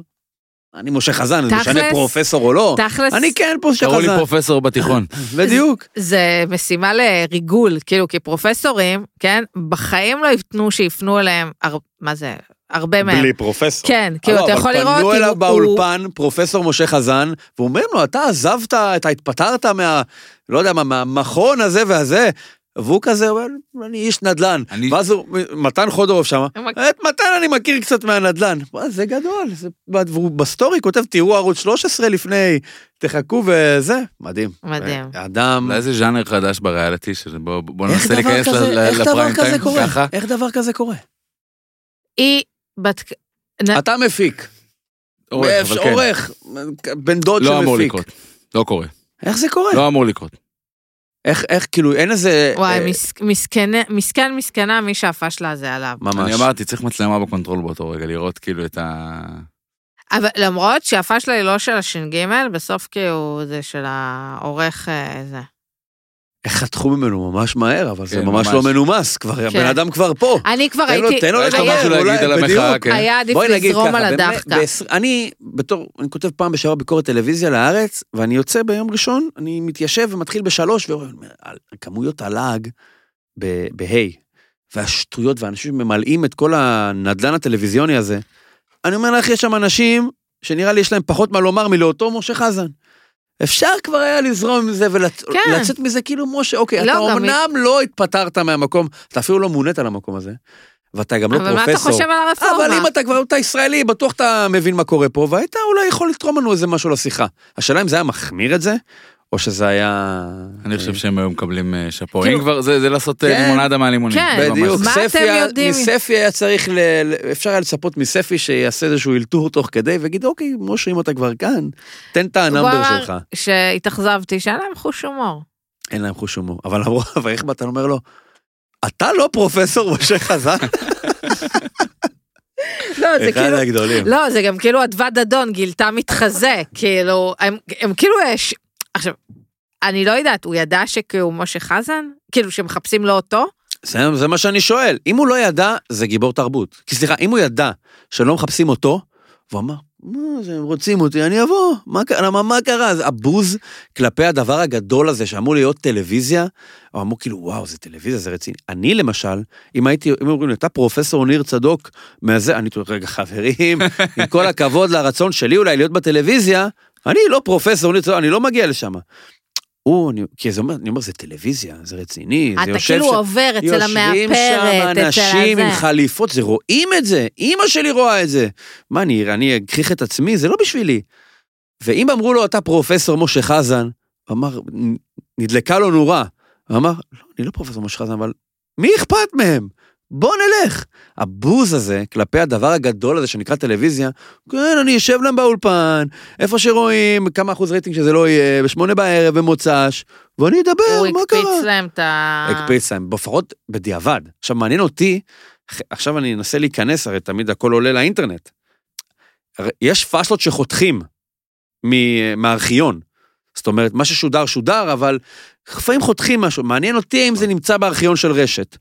אני משה חזן, אז משנה
תכלס-
פרופסור או לא?
תכלס,
אני כן משה
קראו לי
חזן. (laughs)
פרופסור בתיכון.
בדיוק.
(laughs) זה משימה לריגול, כאילו, כי פרופסורים, כן, בחיים לא יפנו שיפנו אליהם, הר... מה זה, הרבה מהם.
פרופסור.
כן, כאילו, אתה יכול לראות,
לא, אה, אבל פנו
אם
אליו
הוא-
באולפן פרופסור משה חזן, ואומרים לו, אתה עזבת, אתה התפטרת מה... לא יודע מה, מהמכון הזה והזה. והוא כזה, אומר, אני איש נדל"ן.
אני-
ואז הוא, מתן חודורוב שם,
הוא מכיר.
את מתן אני מכיר קצת מהנדל"ן. וואי, זה גדול. זה- והוא בסטורי כותב, תראו ערוץ 13 לפני, תחכו וזה. מדהים.
מדהים.
אדם...
אולי זה ז'אנר חדש בריאליטי, שבואו
איך דבר
ננסה להיכנס
כזה-
ל- ל-
איך דבר
לפריים
כזה
טיים
קורה?
ככה.
איך דבר כזה קורה?
היא בת...
אתה מפיק,
עורך, אבל כן.
עורך, בן דוד
לא אמור
שמפיק.
לקרות. לא קורה.
איך זה קורה?
לא אמור לקרות.
איך, איך, כאילו, אין איזה...
וואי,
אה,
מס- מסכנה, מסכן מסכנה מי שהפשלה הזה עליו.
ממש.
אני אמרתי, צריך מצלמה בקונטרול באותו רגע, לראות כאילו את ה...
אבל למרות שהפשלה היא לא של הש"ג, בסוף כאילו זה של העורך אה, זה.
איך חתכו ממנו ממש מהר, אבל זה
כן,
ממש
ממש.
לא מנומס, כבר,
כן.
הבן אדם כבר פה.
אני כבר
תן לו-
הייתי...
תן לו
יש לך
לדבר,
אה, משהו
אולי,
להגיד על המחאה,
בדיוק.
כן.
היה עדיף
בואי נגיד
לזרום
ככה,
על
באמת,
הדווקא.
בעשר- אני, בתור, אני כותב פעם בשבוע ביקורת טלוויזיה לארץ, ואני יוצא ביום ראשון, אני מתיישב ומתחיל בשלוש, ואומר, "על- כמויות הלעג ב- בהיי, והשטויות, ואנשים שממלאים את כל הנדלן הטלוויזיוני הזה, אני אומר לך, יש שם אנשים שנראה לי יש להם פחות מה לומר מלאותו משה חזן. אפשר כבר היה לזרום עם זה
כן.
ולצאת מזה כאילו, משה, אוקיי, אתה
לא, גם-
אומנם לא התפטרת מהמקום, אתה אפילו לא מונית למקום הזה, ואתה גם לא
אבל
פרופסור.
מה אתה חושב על הרפורמה?
אבל אם אתה כבר אתה ישראלי, בטוח אתה מבין מה קורה פה, והיית אולי יכול לתרום לנו איזה משהו לשיחה. השאלה אם זה היה מחמיר את זה, או שזה היה...
אני חושב שהם היו מקבלים אה, שאפו.
כאילו-
אם כבר, זה זה לעשות אה,
כן.
לימונדה מהלימונים.
כן.
זה ממש
בדיוק,
מה
ספי
אתם
היה-
יודעים?
מספי היה צריך, ל... ל- אפשר היה לצפות מספי שיעשה איזשהו אלתור תוך כדי, ויגיד, אוקיי, משה, אם אתה כבר כאן, תן את
הוא
הנאמבר
אמר
שלך.
שהתאכזבתי, שאין להם חוש הומור.
אין להם חוש הומור. אבל אמרו, אבל איך אתה אומר לו, אתה לא פרופסור משה חזן?
לא, זה
אחד
כאילו...
הגדולים.
לא, זה גם כאילו אדוה דדון גילתה מתחזה, כאילו, הם, הם כאילו יש... עכשיו, אני לא יודעת, הוא ידע שכאילו משה חזן? כאילו שמחפשים לא אותו?
זה, זה מה שאני שואל. אם הוא לא ידע, זה גיבור תרבות. כי סליחה, אם הוא ידע שלא מחפשים אותו, והוא אמר, מה זה, הם רוצים אותי, אני אבוא. מה, קרה- למה, מה קרה? אז הבוז כלפי הדבר הגדול הזה שאמור להיות טלוויזיה, הם אמרו כאילו, וואו, זה טלוויזיה, זה רציני. אני למשל, אם הייתי, אם אומרים לי, אתה פרופסור ניר צדוק מהזה, אני אומר, רגע,
(laughs)
חברים, עם כל הכבוד לרצון שלי אולי להיות בטלוויזיה, אני לא פרופסור ניר צדוק, אני לא מגיע לשם. הוא, אני, כי זה אומר, אני אומר, זה טלוויזיה, זה רציני, זה
אתה
יושב
כאילו
שם-
עובר אצל
יושבים שם
המאפרת, אצל
אנשים עם
הזה.
חליפות, זה רואים את זה, אימא שלי רואה את זה. מה, אני, אני אגחיך את עצמי? זה לא בשבילי. ואם אמרו לו, אתה פרופסור משה חזן, אמר, נ- נדלקה לו נורה. הוא אמר, לא, אני לא פרופסור משה חזן, אבל מי אכפת מהם? בוא נלך. הבוז הזה כלפי הדבר הגדול הזה שנקרא טלוויזיה, כן, אני אשב להם באולפן, איפה שרואים, כמה אחוז רייטינג שזה לא יהיה, בשמונה בערב במוצ"ש, ואני
הוא
אדבר, מה קרה?
הקפיץ להם את ה...
הקפיץ להם, לפחות בדיעבד. עכשיו, מעניין אותי, ח- עכשיו אני אנסה להיכנס, הרי תמיד הכל עולה לאינטרנט. הרי יש פאשלות שחותכים מ- מהארכיון. זאת אומרת, מה ששודר, שודר, אבל לפעמים חותכים משהו. מעניין אותי אם זה נמצא בארכיון של רשת.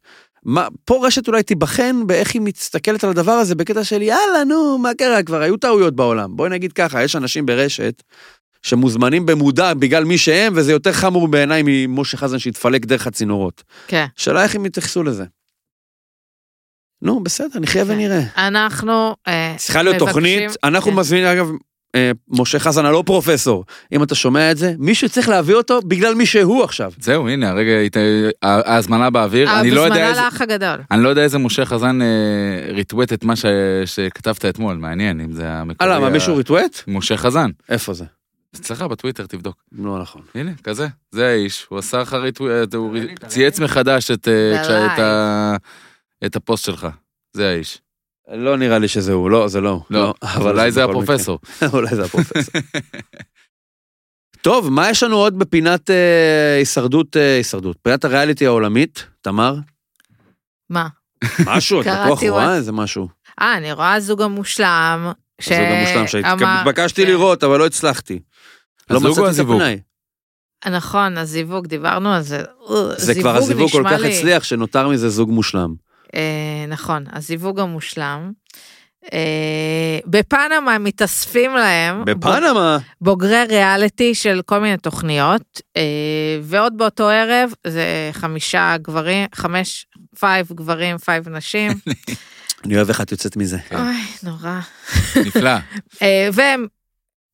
מה, פה רשת אולי תיבחן באיך היא מסתכלת על הדבר הזה בקטע של יאללה, נו, מה קרה כבר? היו טעויות בעולם. בואי נגיד ככה, יש אנשים ברשת שמוזמנים במודע בגלל מי שהם, וזה יותר חמור בעיניי ממשה חזן שהתפלק דרך הצינורות.
כן.
שאלה איך הם יתייחסו לזה. נו, בסדר, נחיה
כן.
ונראה.
אנחנו... אה,
צריכה להיות
מבקשים-
תוכנית, אנחנו
כן.
מזמינים, אגב, אה, משה חזן הלא פרופסור, אם אתה שומע את זה, מישהו צריך להביא אותו בגלל מי שהוא עכשיו.
זהו, הנה, הרגע, הת- ה- ההזמנה באוויר. אני לא יודע איזה...
ההזמנה לאח הגדול.
אני לא יודע איזה משה חזן אה, ריטווט את מה ש- שכתבת אתמול, מעניין אם זה המקורי.
הלאה, מה,
ה-
אה, מישהו ריטואט?
משה חזן.
איפה זה?
אצלך בטוויטר, תבדוק.
לא נכון.
הנה, כזה, זה האיש, הוא עשה לך ריטווט, הוא רי- צייץ מחדש את אה, כש-
בלייב.
את ה- את הפוסט שלך. זה האיש.
לא נראה לי שזה הוא, לא, זה לא הוא.
לא, אבל אולי זה
בכל מקרה.
הפרופסור.
(laughs) אולי זה הפרופסור. (laughs) טוב, מה יש לנו עוד בפינת אה, הישרדות, אה, הישרדות? פינת הריאליטי העולמית, תמר?
מה?
משהו, את
קראתי
בטוח רואה
וואט-
איזה משהו.
אה, אני רואה זוג המושלם. ש-
הזוג המושלם
אמר-
שהתבקשתי
ש-
לראות, אבל לא הצלחתי. לא
הזוג או
מצאתי את
הזיווג?
הפנאי.
נכון, הזיווג, דיברנו על זה. אה,
זה כבר הזיווג כל
נשמע
כך
לי-
הצליח, שנותר מזה זוג מושלם.
אה, נכון, הזיווג המושלם. אה, בפנמה מתאספים להם
בפנמה,
בוגרי ריאליטי של כל מיני תוכניות, אה, ועוד באותו ערב זה חמישה גברים, חמש, פייב גברים, פייב נשים,
אני אוהב איך את יוצאת מזה.
כן.
אוי, נורא. (laughs)
נפלא.
אה, והם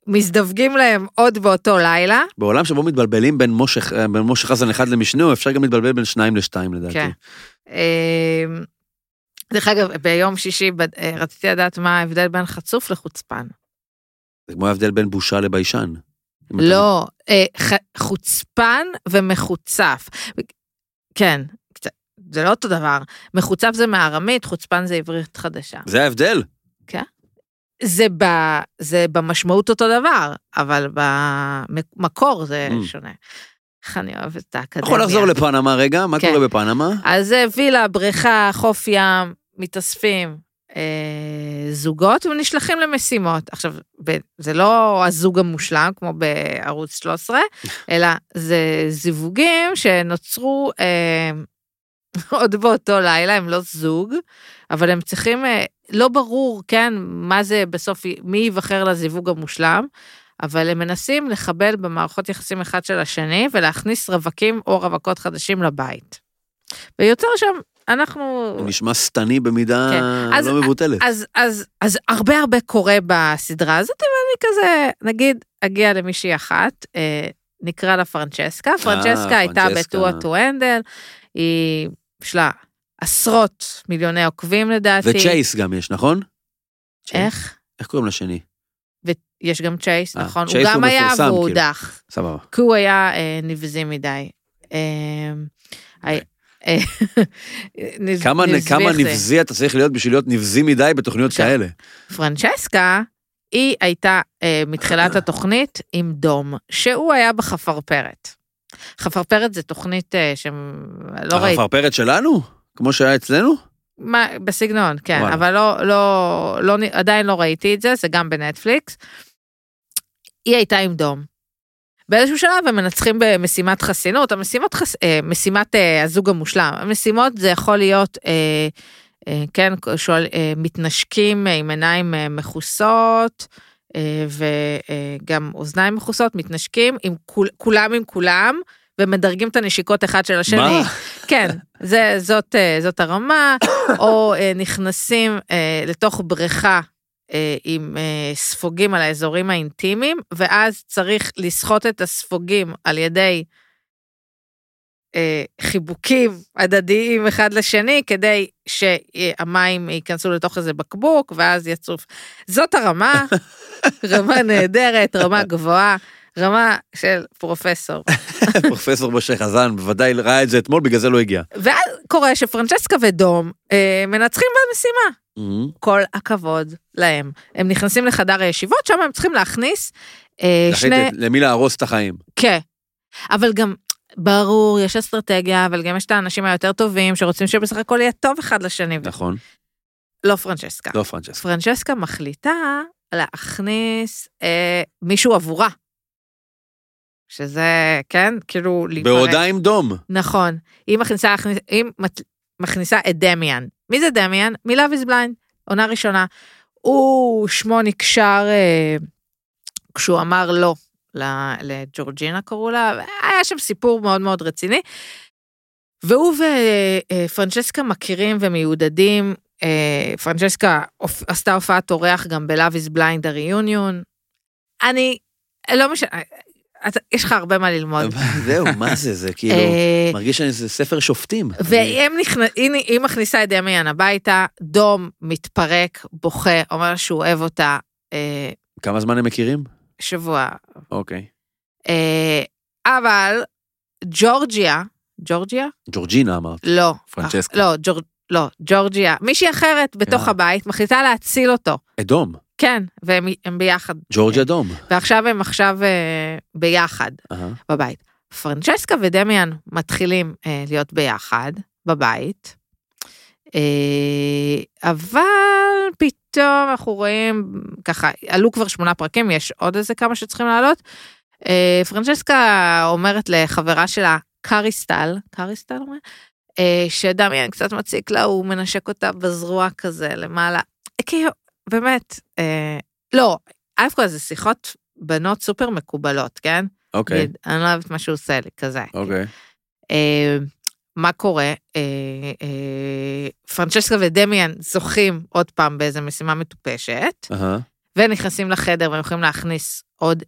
מזדווגים להם עוד באותו לילה,
בעולם שבו מתבלבלים בין משה ח- בין משה חזן אחד למשנהו, אפשר גם להתבלבל בין שניים לשתיים
כן.
לדעתי.
אה, דרך אגב, ביום שישי בד- אה, רציתי לדעת מה ההבדל בין חצוף לחוצפן.
זה כמו ההבדל בין בושה לביישן. אם אתה-
לא, אה, ח- חוצפן ומחוצף. כן, קצת- זה לא אותו דבר. מחוצף זה מארמית, חוצפן זה עברית חדשה.
זה ההבדל.
זה, ב, זה במשמעות אותו דבר, אבל במקור זה
Mm.
שונה. איך אני אוהבת את האקדמיה.
יכול לחזור לפנמה רגע, מה
כן.
קורה בפנמה?
אז זה וילה, בריכה, חוף ים, מתאספים אה, זוגות ונשלחים למשימות. עכשיו, ב- זה לא הזוג המושלם כמו בערוץ 13, אלא זה זיווגים שנוצרו אה, (laughs) עוד באותו לילה, הם לא זוג, אבל הם צריכים, אה, לא ברור, כן, מה זה בסוף, מי ייבחר לזיווג המושלם. אבל הם מנסים לחבל במערכות יחסים אחד של השני ולהכניס רווקים או רווקות חדשים לבית. ויוצר שם, אנחנו...
הוא נשמע שטני במידה
כן. אז-
לא מבוטלת.
אז, אז, אז הרבה הרבה קורה בסדרה הזאת, ואני כזה, נגיד, אגיע למישהי אחת, אה, נקרא לה פרנצ'סקה. פרנצ'סקה הייתה
פרנצ'סקה.
בטועה טו הנדל, היא, יש לה עשרות מיליוני עוקבים לדעתי.
וצ'ייס גם יש, נכון?
איך?
איך קוראים לשני?
יש גם צ'ייס,
אה,
נכון. הוא
צ'ייס
גם
הוא
היה
מפורסם,
והוא
כאילו.
הודח.
סבבה.
כי הוא היה אה, נבזי מדי. אה, אה, אה, נז-
כמה
נזביך
כמה
זה.
נבזי אתה צריך להיות בשביל להיות נבזי מדי בתוכניות
עכשיו, לא
כאלה?
פרנצ'סקה, היא הייתה אה, מתחילת התוכנית עם דום, שהוא היה בחפרפרת. חפרפרת זה תוכנית אה, שלא
אה,
ראיתי,
החפרפרת שלנו? כמו שהיה אצלנו?
מה, בסגנון, כן,
וואלה.
אבל לא, לא, לא, נ- עדיין לא ראיתי את זה, זה גם בנטפליקס. היא הייתה עם דום. באיזשהו שלב הם מנצחים במשימת חסינות, המשימת חס... אה, משימת אה, הזוג המושלם. המשימות זה יכול להיות, אה, אה, כן, שואל, אה, מתנשקים אה, עם עיניים אה, מכוסות, אה, וגם אוזניים מכוסות, מתנשקים, עם כול, כולם עם כולם, ומדרגים את הנשיקות אחד של השני.
מה? (laughs)
כן, זה, זאת, אה, זאת הרמה, או אה, נכנסים אה, לתוך בריכה אה, עם אה, ספוגים על האזורים האינטימיים, ואז צריך לסחוט את הספוגים על ידי אה, חיבוקים הדדיים אחד לשני, כדי שהמים ייכנסו לתוך איזה בקבוק, ואז יצוף. זאת הרמה, רמה נהדרת, רמה גבוהה, רמה של פרופסור.
פרופסור משה חזן בוודאי ראה את זה אתמול, בגלל זה לא הגיע.
ואז קורה שפרנצ'סקה ודום אה, מנצחים במשימה. כל הכבוד להם. הם נכנסים לחדר הישיבות, שם הם צריכים להכניס אה,
להחליט
שני...
את- למי להרוס את החיים.
כן. אבל גם, ברור, יש אסטרטגיה, אבל גם יש את האנשים היותר טובים שרוצים שבסך הכל יהיה טוב אחד לשני.
נכון,
לא פרנצ'סקה.
לא
(laughs)
פרנצ'סקה.
פרנצ'סקה מחליטה להכניס אה, מישהו עבורה. שזה, כן, כאילו... להיפרד.
בעודה עם דום.
נכון. היא מכניסה, היא מת- מכניסה את דמיאן. מי זה דמיאן? מ-Love is Blind, עונה ראשונה. הוא שמו נקשר אה, כשהוא אמר לא ל- לג'ורג'ינה קראו לה, היה שם סיפור מאוד מאוד רציני. והוא ופרנצ'סקה מכירים ומיודדים, אה, פרנצ'סקה הופ- עשתה הופעת אורח גם ב-Love is Blind הריוניון. אני, לא משנה, אתה- יש לך הרבה מה ללמוד.
(laughs) זהו, מה זה? זה כאילו,
אה,
מרגיש שאני איזה ספר שופטים.
והם נכנ... הנה, היא מכניסה את דמיאן הביתה, דום מתפרק, בוכה, אומר שהוא אוהב אותה אה,
כמה זמן הם מכירים?
שבוע.
אוקיי.
אה, אבל ג'ורג'יה, ג'ורג'יה?
ג'ורג'ינה אמרת.
לא.
פרנצ'סקה.
אח- לא, ג'ור... לא, ג'ורג'יה. מישהי אחרת בתוך
יאללה.
הבית מחליטה להציל אותו.
אדום.
כן, והם הם ביחד.
ג'ורג' אדום.
ועכשיו הם עכשיו אה, ביחד.
אהה.
בבית. פרנצ'סקה ודמיאן מתחילים אה, להיות ביחד בבית, אה, אבל פתאום אנחנו רואים, ככה, עלו כבר שמונה פרקים, יש עוד איזה כמה שצריכים לעלות. אה, פרנצ'סקה אומרת לחברה שלה, קריסטל, קריסטל אומרת? אה, שדמיאן קצת מציק לה, הוא מנשק אותה בזרוע כזה למעלה. כאילו, באמת, אה, לא, א' כל זה שיחות בנות סופר מקובלות, כן?
אוקיי.
נגיד, אני לא אוהבת מה שהוא עושה לי, כזה.
אוקיי.
אה, מה קורה? אה, אה, פרנצ'סקה ודמיאן זוכים עוד פעם באיזה משימה מטופשת,
אהה.
ונכנסים לחדר והם יכולים להכניס עוד...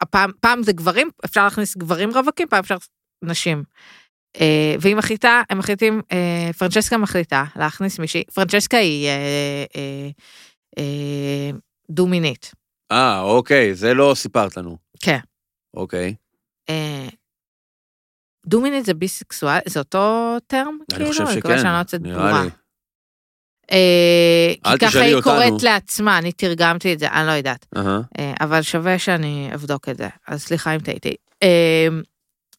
הפעם, פעם זה גברים, אפשר להכניס גברים רווקים, פעם אפשר נשים. אה, והיא מחליטה, הם מחליטים, אה, פרנצ'סקה מחליטה להכניס מישהי, פרנצ'סקה היא אה, אה, אה, דו-מינית.
אה, אוקיי, זה לא סיפרת לנו.
כן.
אוקיי.
אה, דומינית זה ביסקסואל, זה אותו טרם?
אני חושב
אני מקווה
שכן.
שאני לא יוצאת
נראה
ברורה.
לי.
אה,
אל
כי ככה
תשאלי
היא
אותנו.
קוראת לעצמה, אני תרגמתי את זה, אני לא יודעת.
אהה.
אה, אבל שווה שאני אבדוק את זה, אז סליחה אם טעיתי. אה,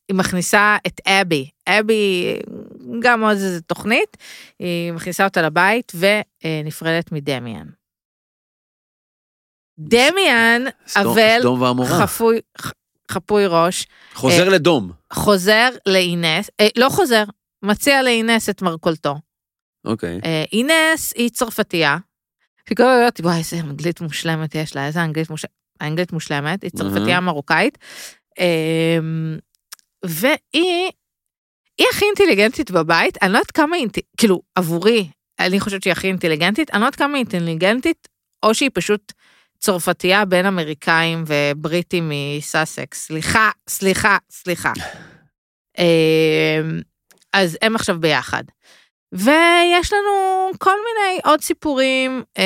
היא מכניסה את אבי, אבי גם עוד איזה תוכנית, היא מכניסה אותה לבית ונפרדת מדמיאן. דמיאן
סדום-
אבל
סדום ועמורה.
חפוי, ח- חפוי ראש,
חוזר
אה,
לדום.
חוזר לאינס, אה, לא חוזר, מציע לאינס את מרכולתו.
אוקיי.
אה, אינס היא צרפתייה, שכל הזמן אומרת, וואי, איזה אנגלית מושלמת יש לה, איזה אנגלית מושלמת, האנגלית מושלמת, היא צרפתייה מרוקאית, אה, והיא, היא הכי אינטליגנטית בבית, אני לא יודעת כמה היא, אינט- כאילו, עבורי, אני חושבת שהיא הכי אינטליגנטית, אני לא יודעת כמה היא אינטליגנטית, או שהיא פשוט צרפתייה בין אמריקאים ובריטים מסאסקס, סליחה, סליחה, סליחה. אה, אז הם עכשיו ביחד. ויש לנו כל מיני עוד סיפורים אה,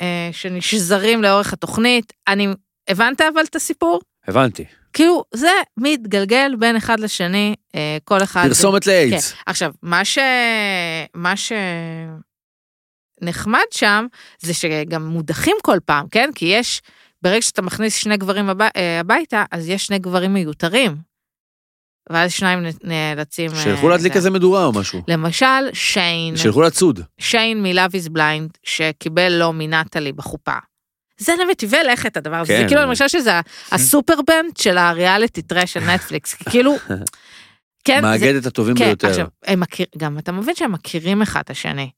אה, שנשזרים לאורך התוכנית. אני, הבנת אבל את הסיפור?
הבנתי.
כאילו, זה מתגלגל בין אחד לשני, אה, כל אחד...
פרסומת לאיידס.
כן. עכשיו, מה ש... מה ש... נחמד שם, זה שגם מודחים כל פעם, כן? כי יש, ברגע שאתה מכניס שני גברים הב... אה, הביתה, אז יש שני גברים מיותרים. ואז שניים נ- נאלצים... אה,
שילכו להדליק
זה. לא, אה,
איזה מדורה או משהו.
למשל, שיין.
שילכו לצוד.
שיין מ-Love is Blind, שקיבל לא מנטלי בחופה. זה למטיבי לכת הדבר הזה, זה
כן,
כאילו אני
אבל-
מרגישה שזה ה- הסופרבנד של הריאליטי טרש של
(laughs)
נטפליקס, כאילו, כן, זה-
מאגד את הטובים
כן,
ביותר.
עכשיו, הם מכיר, גם אתה מבין שהם מכירים אחד את השני.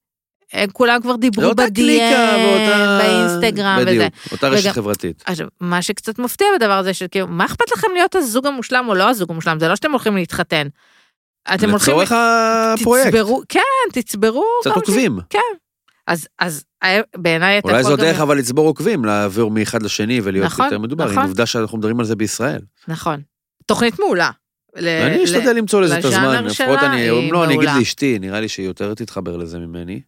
הם כולם כבר
זה
דיברו
אותה
בדיאם,
ואותה-
באינסטגרם וזה.
בדיוק, אותה רשת
וגם-
חברתית.
עכשיו, מה שקצת מפתיע בדבר הזה, שכאילו, מה אכפת לכם להיות הזוג המושלם או לא הזוג המושלם? זה לא שאתם הולכים להתחתן. אתם הולכים...
לצורך הפרויקט,
תצברו, כן, תצברו.
קצת
כמה ש-
עוקבים.
אז, אז אה, בעיניי אתה
אולי
יכול
זו
גם-
דרך אבל לצבור עוקבים, לעבור מאחד לשני ולהיות
נכון,
יותר מדובר. עם
נכון.
עובדה שאנחנו מדברים על זה בישראל.
נכון. תוכנית מעולה. ל-
אני
אה, ל-
אשתדל למצוא לזה את
לז'אנר
הזמן,
שלה
לפחות אני,
היא
אם לא, אני אגיד
מעולה.
לאשתי, נראה לי שהיא יותר תתחבר לזה ממני.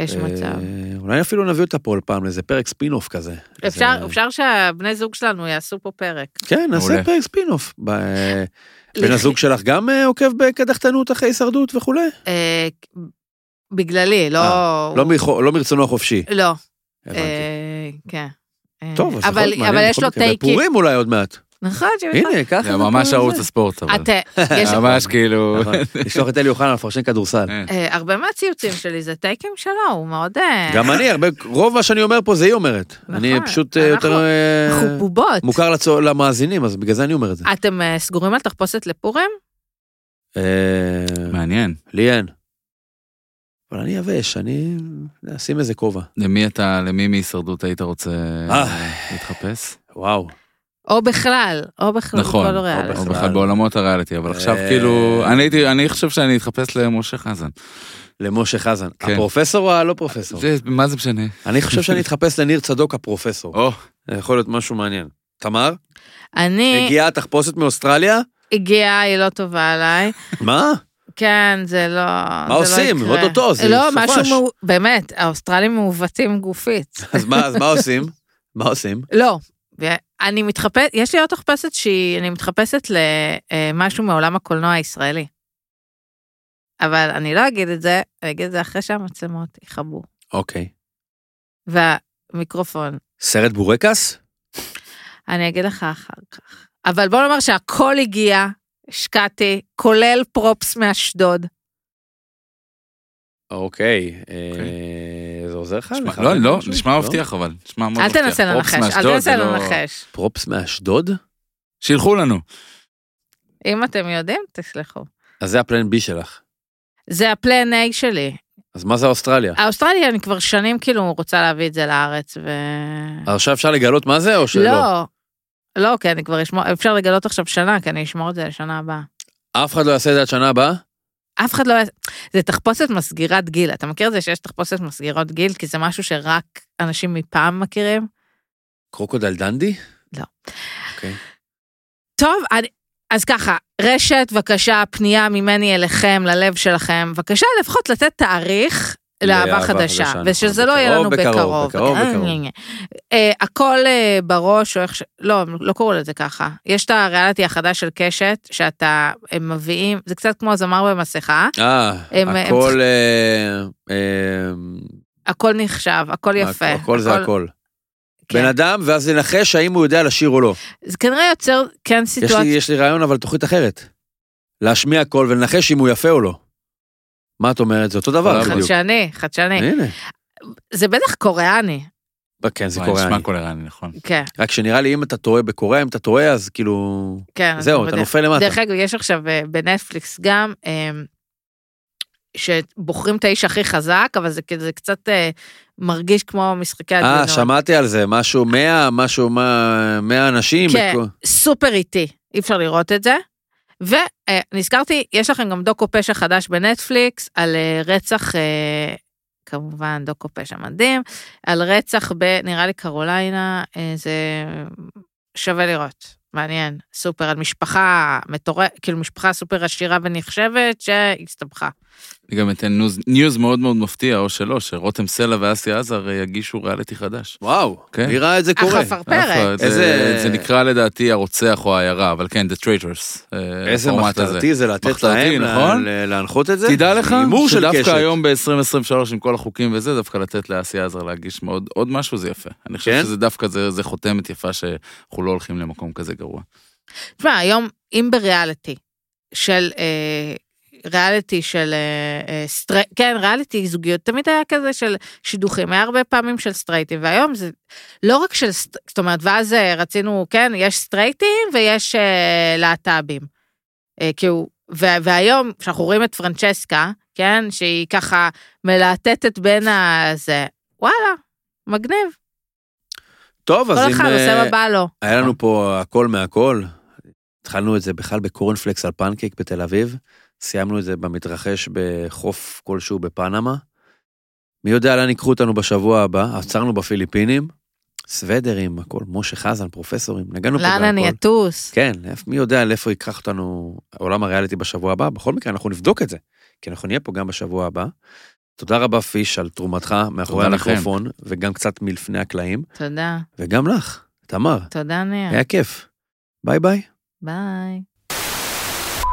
יש
אה,
מצב.
אולי אפילו נביא אותה פה פעם לאיזה פרק ספינוף כזה.
אפשר,
איזה-
אפשר שהבני זוג שלנו יעשו פה פרק.
כן, נעשה
מעולה.
פרק ספינוף. ב-
(laughs)
אה, בן
לח-
הזוג שלך גם אה, עוקב בקדחתנות אחרי הישרדות וכולי?
אה, בגללי, לא...
לא מכו- לא מרצונו החופשי.
לא.
הבנתי.
אה, כן. אה,
טוב, אז יכול
אבל-
להיות מעניין.
אבל
בכל
יש לו
מקרה.
טייקים.
בפורים אולי עוד
(laughs)
מעט.
נכון, שבכלל.
הנה, ככה.
זה ממש
בפורים
ערוץ
זה.
הספורט, אבל.
(laughs)
אתה, יש
ממש כאילו...
נכון. (laughs) לשלוח את אלי אוחנה לפרשן כדורסל.
אה, הרבה מהציוצים שלי זה טייקים שלו, הוא מאוד... אה,
גם אני, הרבה, רוב מה שאני אומר פה זה היא אומרת. אני פשוט אה,
נכון, אנחנו-
יותר אה,
אנחנו בובות.
מוכר לצו- למאזינים, אז בגלל זה אני אומר את זה.
אתם אה, סגורים על תחפושת לפורים?
אה,
מעניין.
לי אין. אבל אני יבש, אני אשים איזה כובע.
למי אתה, למי מהישרדות היית רוצה
אה.
להתחפש?
וואו.
או בכלל, או בכלל,
נכון,
בכל
או
הריאליטי.
בכלל.
או בכלל בעולמות הריאליטי, אבל עכשיו
אה.
כאילו, אני הייתי, אני חושב שאני אתחפש למשה חזן.
למשה חזן.
כן.
הפרופסור או הלא פרופסור?
זה- מה זה משנה?
אני חושב שאני אתחפש לניר צדוק הפרופסור.
או,
זה יכול להיות משהו מעניין. תמר,
אני,
הגיעה התחפושת מאוסטרליה?
הגיעה, היא לא טובה עליי.
מה?
כן, זה לא... מה
עושים? אוטוטו, זה
לא,
סופש.
משהו, מעו- באמת, האוסטרלים מעוותים גופית.
אז מה, אז מה עושים? מה עושים?
לא. אני מתחפשת, יש לי עוד תחפשת שהיא, אני מתחפשת למשהו מעולם הקולנוע הישראלי. אבל אני לא אגיד את זה, אני אגיד את זה אחרי שהמצלמות יכבו.
אוקיי.
והמיקרופון,
סרט בורקס?
אני אגיד לך אחר כך. אבל בוא נאמר שהכל הגיע, השקעתי, כולל פרופס מאשדוד.
אוקיי. אה, זה עוזר לך?
נשמע-
לך
לא, לא,
משהו?
נשמע מבטיח אבל, נשמע מאוד
אל
מבטיח.
תנסה לנחש,
פרופס
אל
מאשדוד,
תנסה
זה לא-
לנחש.
פרופס מאשדוד?
שילחו לנו.
אם אתם יודעים, תסלחו.
אז זה הפלן בי שלך.
זה הפלן A שלי.
אז מה זה אוסטרליה?
האוסטרליה, אני כבר שנים כאילו רוצה להביא את זה לארץ, ו...
אז עכשיו אפשר לגלות מה זה או שלא?
לא. לא, כי אני כבר אשמור, אפשר לגלות עכשיו שנה, כי אני אשמור את זה לשנה הבאה.
אף אחד לא יעשה את זה עד שנה הבאה?
אף אחד לא... היה- זה תחפושת מסגירת גיל. אתה מכיר את זה שיש תחפושת מסגירות גיל? כי זה משהו שרק אנשים מפעם מכירים.
קרוקודל דנדי?
לא.
אוקיי.
טוב, אני... אז ככה, רשת, בבקשה, פנייה ממני אליכם, ללב שלכם. בבקשה, לפחות לתת תאריך לאהבה
לאהבה
חדשה,
חדשה,
ושזה
נכון.
לא יהיה
בקרוב,
לנו
בקרוב,
בקרוב.
בקרוב,
אה,
בקרוב.
אה, אה. אה, הכל אה, בראש, או איך ש... לא, הם לא קראו לזה ככה. יש את הריאליטי החדש של קשת, שאתה, הם מביאים, זה קצת כמו זמר במסכה,
אה,
הם- הם
הכל...
צריכים-
אה, אה,
הכל נחשב, הכל יפה.
הכל זה הכל.
כן.
בן אדם, ואז לנחש האם הוא יודע לשיר או לא.
זה כנראה יוצר כן
יש לי,
סיטואציה,
יש לי רעיון, אבל תוכנית אחרת. להשמיע קול ולנחש אם הוא יפה או לא. מה את אומרת? זה אותו דבר
חדשני.
בדיוק.
חדשני, חדשני.
הנה.
זה בטח קוריאני,
כן, זה
וואי,
קוריאני.
נשמע קולרני, נכון.
כן,
רק שנראה לי אם אתה טועה בקוריאה, אם אתה טועה, אז כאילו...
כן.
זהו,
אני
אתה
יודע.
נופל למטה.
דרך אגב, יש עכשיו אה, בנטפליקס גם, אה, שבוחרים את האיש הכי חזק, אבל זה כזה קצת אה, מרגיש כמו משחקי הדיונות.
אה, שמעתי על זה, משהו 100, משהו מה- 100 אנשים.
כן.
בקו-
סופר איטי, אי אפשר לראות את זה. ונזכרתי, יש לכם גם דוקו פשע חדש בנטפליקס על אה, רצח, אה, כמובן דוקו פשע מדהים, על רצח בנראה לי קרוליינה, אה, זה שווה לראות, מעניין, סופר, על משפחה מטורפת, כאילו משפחה סופר עשירה ונחשבת שהסתבכה.
אני גם אתן ניוז- ניוז מאוד מאוד מפתיע, או שלא, שרותם סלע ואסי עזר אה, יגישו ריאליטי חדש.
וואו,
כן.
מי ראה את זה קורה?
החפרפרת.
אנחנו-
איזה-
זה- זה נקרא לדעתי הרוצח או העיירה, אבל כן, The Traitors. אה,
איזה
הפורמט הזה.
מחתרתי זה לתת
מחתרתי,
להם ל-
נכון?
ל- להנחות את זה?
תדע
זה
לך
הימור של קשת.
שדווקא היום ב-2023 עם כל החוקים וזה, דווקא לתת לאסי עזר להגיש מאוד- עוד משהו זה יפה. אני
כן?
חושב שזה דווקא, זה זה חותמת יפה שאנחנו לא הולכים למקום כזה גרוע.
תשמע, היום, אם בריאליטי של אה, ריאליטי של, אה, אה, סטרי... כן, ריאליטי זוגיות, תמיד היה כזה של שידוכים, היה הרבה פעמים של סטרייטים, והיום זה לא רק של, סט- זאת אומרת, ואז אה, רצינו, כן, יש סטרייטים ויש אה, להט"בים. אה, כאילו, ו- והיום, כשאנחנו רואים את פרנצ'סקה, כן, שהיא ככה מלהטטת בין ה... זה, וואלה, מגניב,
טוב, אז
כל
אם
אחד עושה
אה,
מה בא לו.
היה לנו פה הכל מהכל, התחלנו את זה בכלל בקורנפלקס על פנקייק בתל אביב, סיימנו את זה במתרחש בחוף כלשהו בפנמה. מי יודע לאן ייקחו אותנו בשבוע הבא, עצרנו בפיליפינים, סוודרים, הכל, משה חזן, פרופסורים, נגענו פה
לאן אני
בהכל.
אטוס?
כן, לאיפה- מי יודע לאיפה ייקח אותנו עולם הריאליטי בשבוע הבא, בכל מקרה אנחנו נבדוק את זה, כי אנחנו נהיה פה גם בשבוע הבא. תודה רבה פיש על תרומתך מאחורי
תודה לכם.
המיקרופון, וגם קצת מלפני הקלעים,
תודה,
וגם לך, תמר.
תודה ניר,
היה כיף. ביי ביי.
ביי.